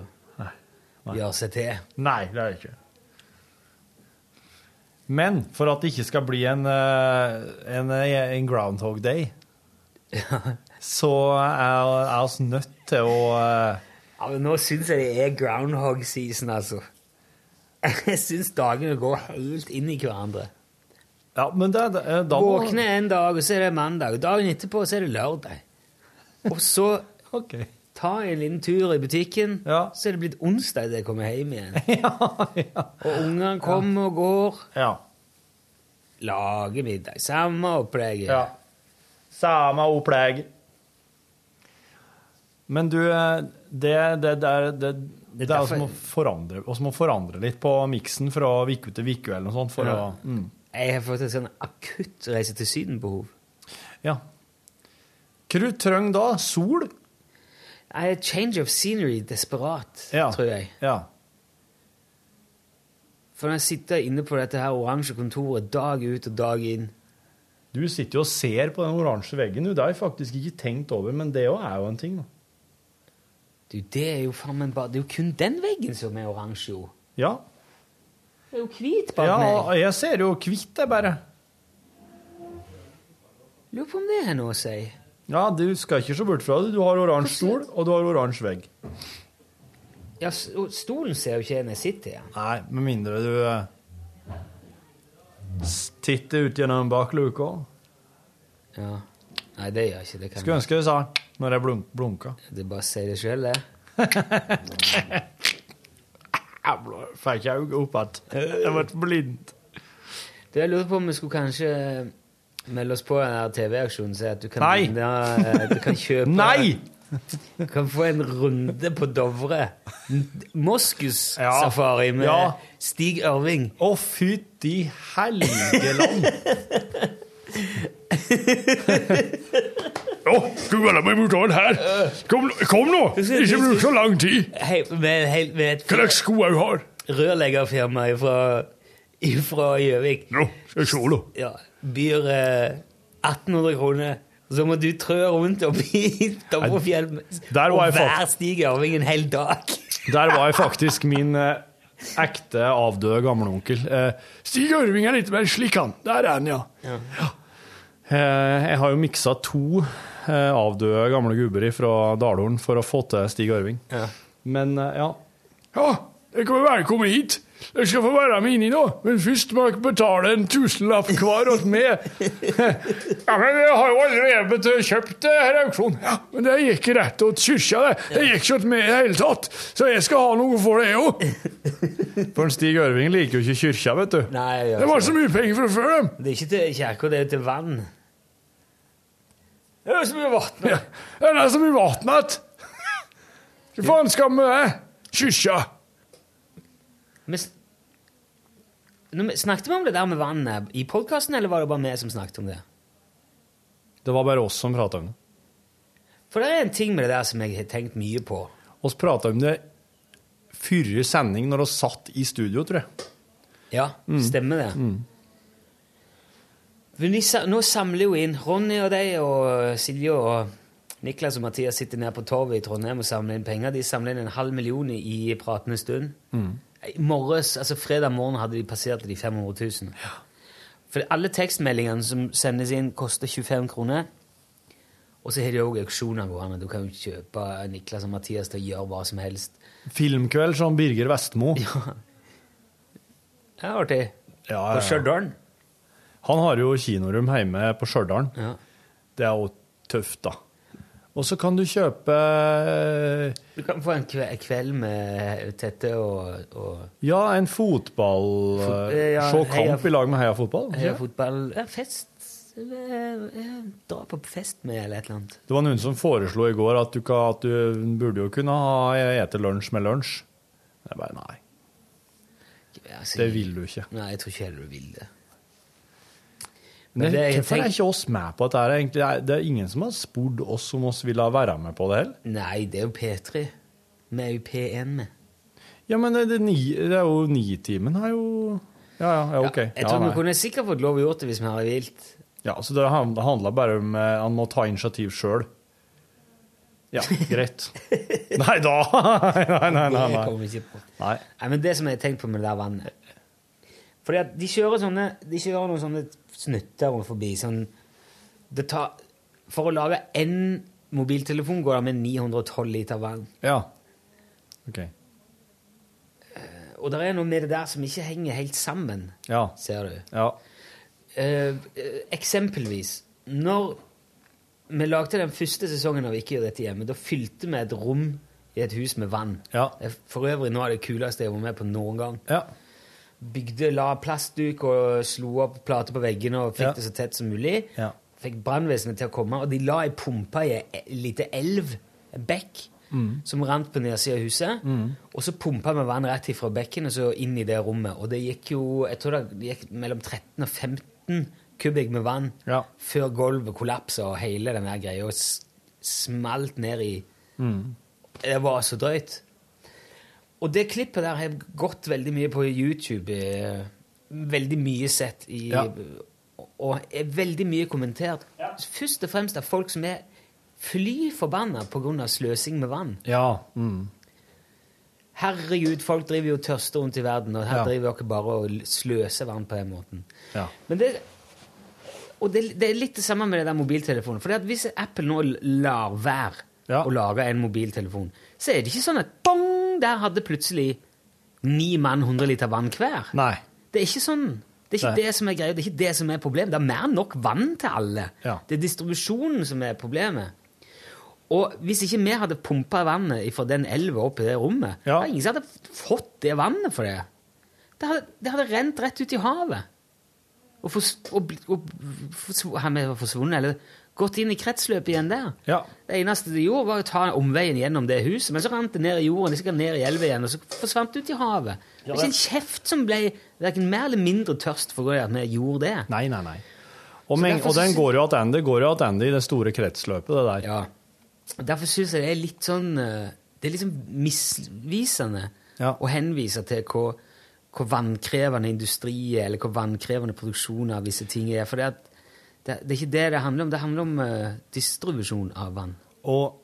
[SPEAKER 2] og gjøre seg til.
[SPEAKER 3] Nei, det er det ikke. Men for at det ikke skal bli en, eh, en, eh, en Groundhog Day, så er er oss nødt til å eh,
[SPEAKER 2] Ja, men nå syns jeg det er groundhog season, altså. Jeg syns dagene går helt inn i hverandre.
[SPEAKER 3] Ja, men det, det, da må-
[SPEAKER 2] Våkne en dag, og så er det mandag. Dagen etterpå så er det lørdag. Og så ta en liten tur i butikken, så er det blitt onsdag da jeg kommer hjem igjen. Og ungene kommer og går. Lage middag. Samme opplegget.
[SPEAKER 3] Ja. Samme opplegg. Men du, eh, det, det, det er det, det er jo som å forandre, oss må forandre litt på miksen fra uke til uke eller noe sånt. For
[SPEAKER 2] Ja.
[SPEAKER 3] å, mm.
[SPEAKER 2] Jeg har fått et sånn akutt reise til Syden-behov.
[SPEAKER 3] Ja. Hva du trenger da? Sol?
[SPEAKER 2] Nei, change of scenery desperat, tror jeg. For når jeg sitter inne på dette her oransje kontoret dag ut og dag inn
[SPEAKER 3] Du sitter jo og ser på den oransje veggen. du. Det har jeg faktisk ikke tenkt over, men det òg er jo en ting. da.
[SPEAKER 2] Du, det er jo faen meg bare Det er jo kun den veggen som er oransje, jo.
[SPEAKER 3] Ja.
[SPEAKER 2] Det er jo hvit bak
[SPEAKER 3] ja,
[SPEAKER 2] meg.
[SPEAKER 3] og jeg ser jo hvitt, jeg bare.
[SPEAKER 2] Lurer på om det har noe å si.
[SPEAKER 3] Ja, du skal ikke så bort fra det. Du har oransje stol, og du har oransje vegg.
[SPEAKER 2] Ja, s- og stolen ser jo ikke en jeg sitter i.
[SPEAKER 3] Nei, med mindre du eh, s- titter ut gjennom bakluka.
[SPEAKER 2] Ja. Nei, det gjør jeg ikke. Det kan
[SPEAKER 3] Skulle ønske du sa når jeg blunk blunka.
[SPEAKER 2] Det er bare å si det sjøl, det.
[SPEAKER 3] Jævla, Fikk jeg øynene opp igjen. Jeg ble blind.
[SPEAKER 2] Du, jeg lurer på om vi skulle kanskje eh, melde oss på en her TV-aksjon og si at du kan,
[SPEAKER 3] Nei!
[SPEAKER 2] vinne, eh, du kan kjøpe
[SPEAKER 3] Nei!
[SPEAKER 2] Du kan få en runde på Dovre.
[SPEAKER 3] Ja.
[SPEAKER 2] Moskus-safari med
[SPEAKER 3] Ja.
[SPEAKER 2] Stig Ørving.
[SPEAKER 3] Å, fytti helgeland!
[SPEAKER 12] Å, du kaller meg brutalen her. Kom, kom nå! Ikke bruk så lang tid.
[SPEAKER 2] Hei, med, hei, med et
[SPEAKER 12] Hva slags sko jeg har?
[SPEAKER 2] rørleggerfirma ifra ifra Gjøvik.
[SPEAKER 12] Nå, skal jeg se, da.
[SPEAKER 2] Ja, byr eh, 1800 kroner. Så må du trø rundt oppi Dovrefjell
[SPEAKER 3] der
[SPEAKER 2] og
[SPEAKER 3] var jeg
[SPEAKER 2] være
[SPEAKER 3] fakt-
[SPEAKER 2] Stig Ørving en hel dag.
[SPEAKER 3] Der var jeg faktisk min eh, ekte avdøde gamleonkel. Eh,
[SPEAKER 12] Stig Ørving er litt mer slik han. Der er han, ja.
[SPEAKER 3] eh, jeg har jo miksa to eh, avdøde gamle gubber fra Dalhorn for å få til Stig Ørving. Men eh, ja.
[SPEAKER 12] Ja, dere er velkommen hit. Dere skal få være med inni nå, men først må dere betale en tusenlapp hver åt meg. Ja, men jeg har jo allerede kjøpt det her auksjonen. Ja, men det gikk rett åt kyrkja, det. Det gikk ikke åt meg i det hele tatt, så jeg skal ha noe for det òg.
[SPEAKER 3] For en Stig Ørving liker jo ikke kyrkja, vet du.
[SPEAKER 2] Nei, jeg gjør
[SPEAKER 12] Det var
[SPEAKER 2] ikke
[SPEAKER 12] så mye penger fra før, dem.
[SPEAKER 2] Det er ikke til kirka, det er til vann. Det er jo så mye vann.
[SPEAKER 12] Ja, det er så mye vann igjen. Hva faen skal vi med det? Kyrkja.
[SPEAKER 2] Men s- Nå, men snakket vi om det der med vannet i podkasten, eller var det bare vi som snakket om det?
[SPEAKER 3] Det var bare oss som prata om det.
[SPEAKER 2] For det er en ting med det der som jeg har tenkt mye på.
[SPEAKER 3] Vi prata om det forrige sending når vi satt i studio, tror jeg.
[SPEAKER 2] Ja, stemmer det. Men de, sa- nå samler jo inn Ronny og deg og eh, Silje og Niklas og Mathias sitter nede på torvet i Trondheim og samler inn penger. De samler inn en halv million i pratende stund. I morges, altså fredag morgen hadde de passert de 500 000. For alle tekstmeldingene som sendes inn, koster 25 kroner. Og så har de òg auksjoner gående. Du kan jo kjøpe Niklas og Mathias til å gjøre hva som helst.
[SPEAKER 3] Filmkveld som Birger Vestmo.
[SPEAKER 2] Ja. Det er artig.
[SPEAKER 3] Ja,
[SPEAKER 2] På Stjørdal.
[SPEAKER 3] Han har jo kinorom hjemme på Stjørdal. Det er jo tøft, da. Og så kan du kjøpe eh,
[SPEAKER 2] Du kan få en kve- kveld med Tette og, og
[SPEAKER 3] Ja, en fotball...
[SPEAKER 2] Fot-
[SPEAKER 3] eh,
[SPEAKER 2] ja,
[SPEAKER 3] Se
[SPEAKER 2] heia-
[SPEAKER 3] kamp i lag med Heia Fotball.
[SPEAKER 2] Heia fotball ja, Fest. eh, eh, Dra på fest med, eller et eller annet.
[SPEAKER 3] Det var noen som foreslo i går at du, ka- at du burde jo kunne ha ete lunsj med lunsj. Jeg bare nei. Det vil du ikke.
[SPEAKER 2] altså, Nei, jeg tror ikke heller du vil det.
[SPEAKER 3] Men
[SPEAKER 2] Men det- jeg
[SPEAKER 3] hvorfor er
[SPEAKER 2] tenk-
[SPEAKER 3] ikke oss med på dette her, egentlig? Det er- Det er ingen som har spurt oss om oss ville være med på det heller.
[SPEAKER 2] Nei, det er jo P3. Vi er jo P1 med.
[SPEAKER 3] Ja, men det, det, ni, det er jo Nitimen har jo Ja, ja, ja ok.
[SPEAKER 2] Jeg
[SPEAKER 3] Ja,
[SPEAKER 2] tror
[SPEAKER 3] nei.
[SPEAKER 2] vi kunne sikkert fått lov å gjort det hvis vi hadde vilt.
[SPEAKER 3] Ja, så det han- det handler bare om eh, han må ta initiativ sjøl. Ja, greit. nei da! nei, nei, nei.
[SPEAKER 2] Det
[SPEAKER 3] nei.
[SPEAKER 2] kommer vi ikke på.
[SPEAKER 3] nei.
[SPEAKER 2] Nei, men det som jeg har tenkt på med det der vannet Fordi at de kjører sånne De kjører noen sånne snutter rundt forbi sånn, det tar, For å lage en mobiltelefon går det med 912 liter vann
[SPEAKER 3] Ja. Ok.
[SPEAKER 2] Og det er noe med det der som ikke henger helt sammen
[SPEAKER 3] Ja.
[SPEAKER 2] Ser du
[SPEAKER 3] Ja.
[SPEAKER 2] Eh, eh, Eksempelvis Når vi lagde den første sesongen av Ikke gjør dette hjemme Da fylte vi et rom i et hus med vann Det er For øvrig noe av det kuleste jeg var med på noen gang Bygde, la plastduk og slo opp plater på veggene Og fikk
[SPEAKER 3] Ja.
[SPEAKER 2] det så tett som mulig
[SPEAKER 3] Ja.
[SPEAKER 2] Fikk brannvesenet til å komme Og de la en pumpe i en lite elv En bekk
[SPEAKER 3] Mm.
[SPEAKER 2] Som rant på nedsiden av huset
[SPEAKER 3] Mm.
[SPEAKER 2] og så pumpa vi vann rett ifra bekken og så inn i det rommet. Og det gikk jo jeg tror det gikk mellom 13 og 15 kubikk med vann før gulvet kollapsa og hele den der greia s- smalt ned i
[SPEAKER 3] Mm.
[SPEAKER 2] Det var så drøyt. Og det klippet der har gått veldig mye på YouTube. eh, Veldig mye sett i
[SPEAKER 3] Ja.
[SPEAKER 2] Og er veldig mye kommentert. Først og fremst av folk som er fly forbanna pga. sløsing med vann.
[SPEAKER 3] ja. Mm.
[SPEAKER 2] Herregud, folk driver jo tørste rundt i verden, og her
[SPEAKER 3] Ja.
[SPEAKER 2] driver dere bare og sløser vann på den måten.
[SPEAKER 3] ja.
[SPEAKER 2] Men det, og det, det er litt det samme med det der mobiltelefonen. For hvis Apple nå lar være å lage en mobiltelefon, så er det ikke sånn at bong, der hadde plutselig ni mann 100 liter vann hver.
[SPEAKER 3] Nei.
[SPEAKER 2] Det er ikke sånn. Det er ikke
[SPEAKER 3] Nei.
[SPEAKER 2] det som er greia, det er ikke det som er problemet. Det er mer enn nok vann til alle.
[SPEAKER 3] Ja.
[SPEAKER 2] Det er distribusjonen som er problemet. Og hvis ikke vi hadde pumpa vannet fra den elva opp i det rommet, det er ingen som hadde fått det vannet for det. Det hadde, det hadde rent rett ut i havet. Og, fors, og, bl- og forsv- han er forsvunnet, eller gått inn i kretsløpet igjen der. Det eneste de gjorde, var å ta omveien gjennom det huset, men så rant det ned i jorden, det sikkert ned i elva igjen, og så forsvant det ut i havet. Det er ikke en kjeft som ble hverken mer eller mindre tørst for at vi gjorde det.
[SPEAKER 3] Nei, nei, nei. Og,
[SPEAKER 2] Så
[SPEAKER 3] men,
[SPEAKER 2] derfor
[SPEAKER 3] og
[SPEAKER 2] så
[SPEAKER 3] den
[SPEAKER 2] sy-
[SPEAKER 3] går jo attende går jo attende i det store kretsløpet, det der.
[SPEAKER 2] Ja. Derfor syns jeg det er litt sånn eh, Det er liksom misvisende å henvise til hvor, hvor vannkrevende industri er, eller hvor vannkrevende produksjon av visse ting er. For det, at, det, det er ikke det det handler om. Det handler om eh, distribusjon av vann.
[SPEAKER 3] Og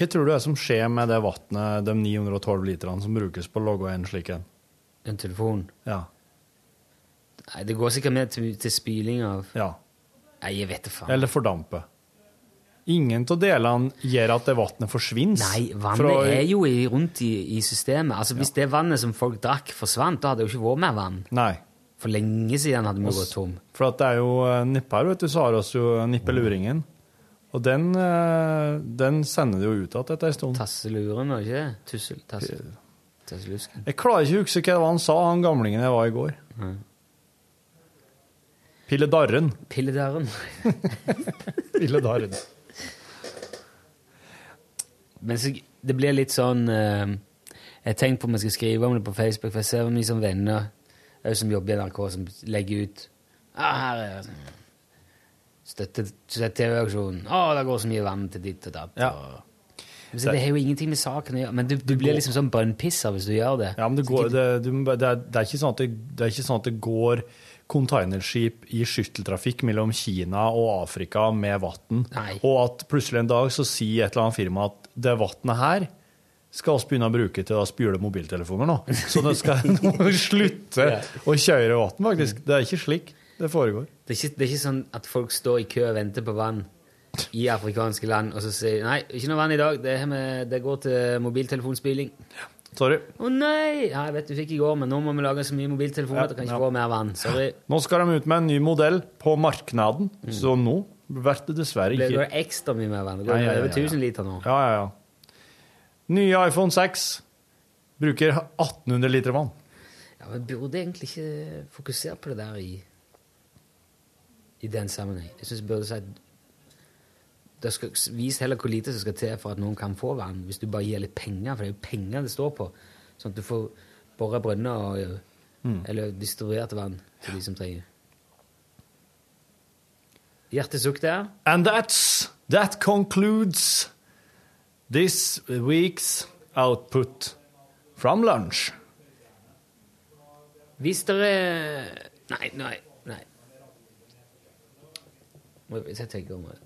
[SPEAKER 3] hva tror du er som skjer med det vannet, de 912 literne som brukes på å logge en slik en?
[SPEAKER 2] En telefon?
[SPEAKER 3] Ja.
[SPEAKER 2] Nei, det går sikkert mer til, til spyling av
[SPEAKER 3] Ja.
[SPEAKER 2] Nei, jeg vet det faen.
[SPEAKER 3] Eller fordampe? Ingen av delene gjør at det vannet forsvinner.
[SPEAKER 2] Nei, vannet er jo i, rundt i, i systemet. Altså, Hvis det vannet som folk drakk, forsvant, da hadde det jo ikke vært mer vann.
[SPEAKER 3] Nei.
[SPEAKER 2] For lenge siden hadde vi gått tom.
[SPEAKER 3] For at det er jo eh, nipper, vet du, så har oss jo eh, nippeluringen. Og den, eh, den sender det jo ut igjen etter en stund.
[SPEAKER 2] Tasseluren, var det ikke det? Tussel, tassel. Tasselusken.
[SPEAKER 3] Jeg klarer ikke å huske hva det var han sa, han gamlingen jeg var i går. Pilledarren.
[SPEAKER 2] Pilledarren.
[SPEAKER 3] Pilledarren.
[SPEAKER 2] Men så, det blir litt sånn eh, Jeg tenkte på om jeg skal skrive om det på Facebook, for jeg ser mye sånn venner eh, som jobber i NRK, som legger ut ah, her er sånn, støtte til TV-aksjonen. Å, det går så mye vann til ditt og datt. og- Så det har jo ingenting med saken å gjøre, men du, du blir liksom sånn brønnpisser hvis du gjør det.
[SPEAKER 3] Ja, men det, går, det, du, må bare- det, er, det, er ikke sånn at det, det er ikke sånn at det går containerskip i skytteltrafikk mellom Kina og Afrika med vann, og at plutselig en dag så sier et eller annet firma at det vannet her skal vi begynne å bruke til å spyle mobiltelefoner nå. Så nå skal nå må vi slutte å kjøre vann, faktisk. Det er ikke slik det foregår.
[SPEAKER 2] Det er, ikke, det er ikke sånn at folk står i kø og venter på vann i afrikanske land, og så sier de, nei, ikke noe vann i dag, det, har vi- det går til mobiltelefonspilling.
[SPEAKER 3] Sorry.
[SPEAKER 2] Å nei! Ja, jeg vet du fikk i går, men nå må vi lage så mye mobiltelefoner at det kan ikke få mer vann. Sorry.
[SPEAKER 3] Nå skal de ut med en ny modell på marknaden, så nå blir Mm. det dessverre
[SPEAKER 2] Det
[SPEAKER 3] ikke
[SPEAKER 2] går ekstra mye mer vann. Det
[SPEAKER 3] Ja,
[SPEAKER 2] går
[SPEAKER 3] ja, ja,
[SPEAKER 2] over
[SPEAKER 3] ja.
[SPEAKER 2] 1000 liter nå.
[SPEAKER 3] Ja, ja, ja. Nye iPhone 6 bruker 1800 liter vann.
[SPEAKER 2] Ja, men burde egentlig ikke fokusere på det der i, i den sammenheng. Jeg synes jeg burde si at det skal, vis heller hvor lite som skal til for at noen kan få vann, hvis du bare gir litt penger, for det er jo penger det står på, sånn at du får borre brønner og,
[SPEAKER 3] Mm.
[SPEAKER 2] eller distribuert vann til de som trenger. Hjertesukk der.
[SPEAKER 3] And that's, that concludes this week's output from lunch.
[SPEAKER 2] Hvis dere Nei, nei, nei. Må jeg- Jeg tenker om det.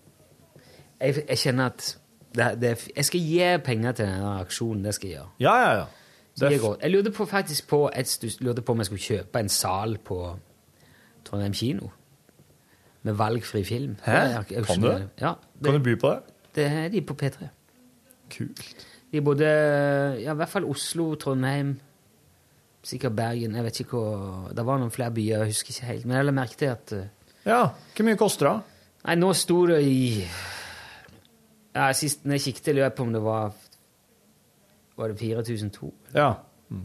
[SPEAKER 2] Jeg, jeg kjenner at det, det, Jeg skal gi penger til denne aksjonen. Det skal jeg gjøre.
[SPEAKER 3] Ja, ja, ja.
[SPEAKER 2] Så det er godt. Jeg lurte på faktisk på jeg stus- lurte på om jeg skulle kjøpe en sal på Trondheim kino. Med valgfri film.
[SPEAKER 3] Hæ?
[SPEAKER 2] Det er-
[SPEAKER 3] Kan du det?
[SPEAKER 2] Ja,
[SPEAKER 3] Kan du by på det?
[SPEAKER 2] det er de på P3.
[SPEAKER 3] Kult.
[SPEAKER 2] De bodde ja, i hvert fall Oslo, Trondheim, sikkert Bergen. Jeg vet ikke hvor Det var noen flere byer, jeg husker ikke helt. Men jeg la merke til at eh,
[SPEAKER 3] Ja, Hvor mye koster det?
[SPEAKER 2] Nei, nå sto det i ja, Sist når jeg kikket, lurer jeg på om det var Var det 4002?
[SPEAKER 3] Ja.
[SPEAKER 2] Mm.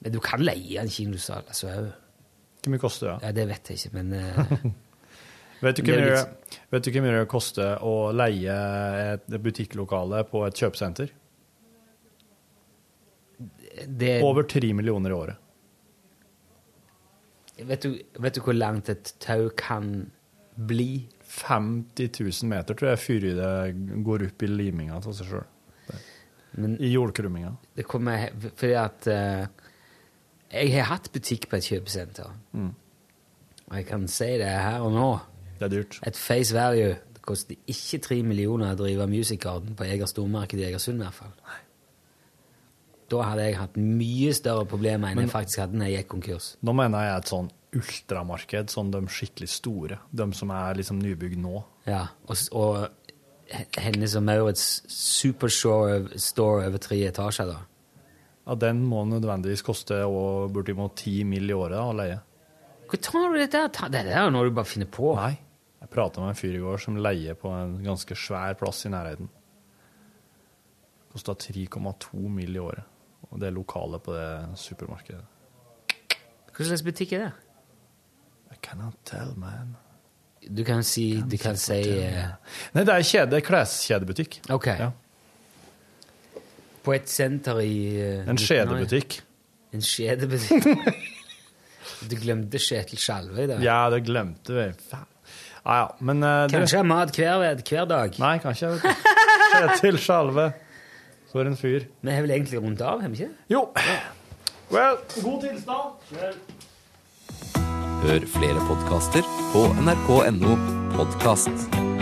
[SPEAKER 2] Men du kan leie en kinosal, altså. jeg-
[SPEAKER 3] Hvor mye koster det?
[SPEAKER 2] Ja, det vet jeg ikke, men eh,
[SPEAKER 3] Vet du
[SPEAKER 2] Det
[SPEAKER 3] hvor
[SPEAKER 2] er jo
[SPEAKER 3] mye, vet du hvor mye det koster å leie et butikklokale på et kjøpesenter?
[SPEAKER 2] det
[SPEAKER 3] Over tre millioner i året.
[SPEAKER 2] vet, du, vet du hvor langt et tau kan bli?
[SPEAKER 3] 50 000 meter tror jeg før det går opp i liminga av seg sjøl. I jordkrumminga.
[SPEAKER 2] Det kommer fordi at eh, Jeg har hatt butikk på et kjøpesenter.
[SPEAKER 3] Mm.
[SPEAKER 2] Og jeg kan si det her og nå.
[SPEAKER 3] Det er dyrt.
[SPEAKER 2] Et face value. Det koster ikke tre millioner å drive Music Garden på Eger stormarked i Egersund, i hvert fall. Da hadde jeg hatt mye større problemer enn
[SPEAKER 3] Men-
[SPEAKER 2] jeg faktisk hadde når jeg gikk konkurs.
[SPEAKER 3] Nå mener jeg et sånn ultramarked, sånn de skikkelig store. De som er liksom nybygd nå.
[SPEAKER 2] Ja, og, s- og H- Hennes og Maurits superstore store over tre etasjer, da.
[SPEAKER 3] Ja, Den må nødvendigvis koste og bortimot 10 mill. i året da, å leie.
[SPEAKER 2] Hvor tar du dette? Ta- Det er jo noe du bare finner på.
[SPEAKER 3] Nei. Jeg prata med en fyr i går som leier på en ganske svær plass i nærheten. Kosta 3,2 mill. i året. Og det er lokalet på det supermarkedet.
[SPEAKER 2] Hva slags butikk er det?
[SPEAKER 3] I cannot tell, man.
[SPEAKER 2] Du kan si Du kan si eh,
[SPEAKER 3] Nei, det er kjede, det er kleskjedebutikk.
[SPEAKER 2] OK. På et senter i eh,
[SPEAKER 3] En skjedebutikk.
[SPEAKER 2] En skjedebutikk. du glemte Kjetil Skjalve i dag.
[SPEAKER 3] Ja, det glemte vi. Faen. Ja, ja, men eh, det-
[SPEAKER 2] Kanskje jeg har mat hver, ved- hver dag.
[SPEAKER 3] Nei, kanskje. vet du. Kjetil Skjalve. For en fyr.
[SPEAKER 2] Vi har vel egentlig rundt av, har vi ikke det?
[SPEAKER 3] Jo. Well.
[SPEAKER 18] God tilstand.
[SPEAKER 4] Hør flere podkaster på nrk.no podkast.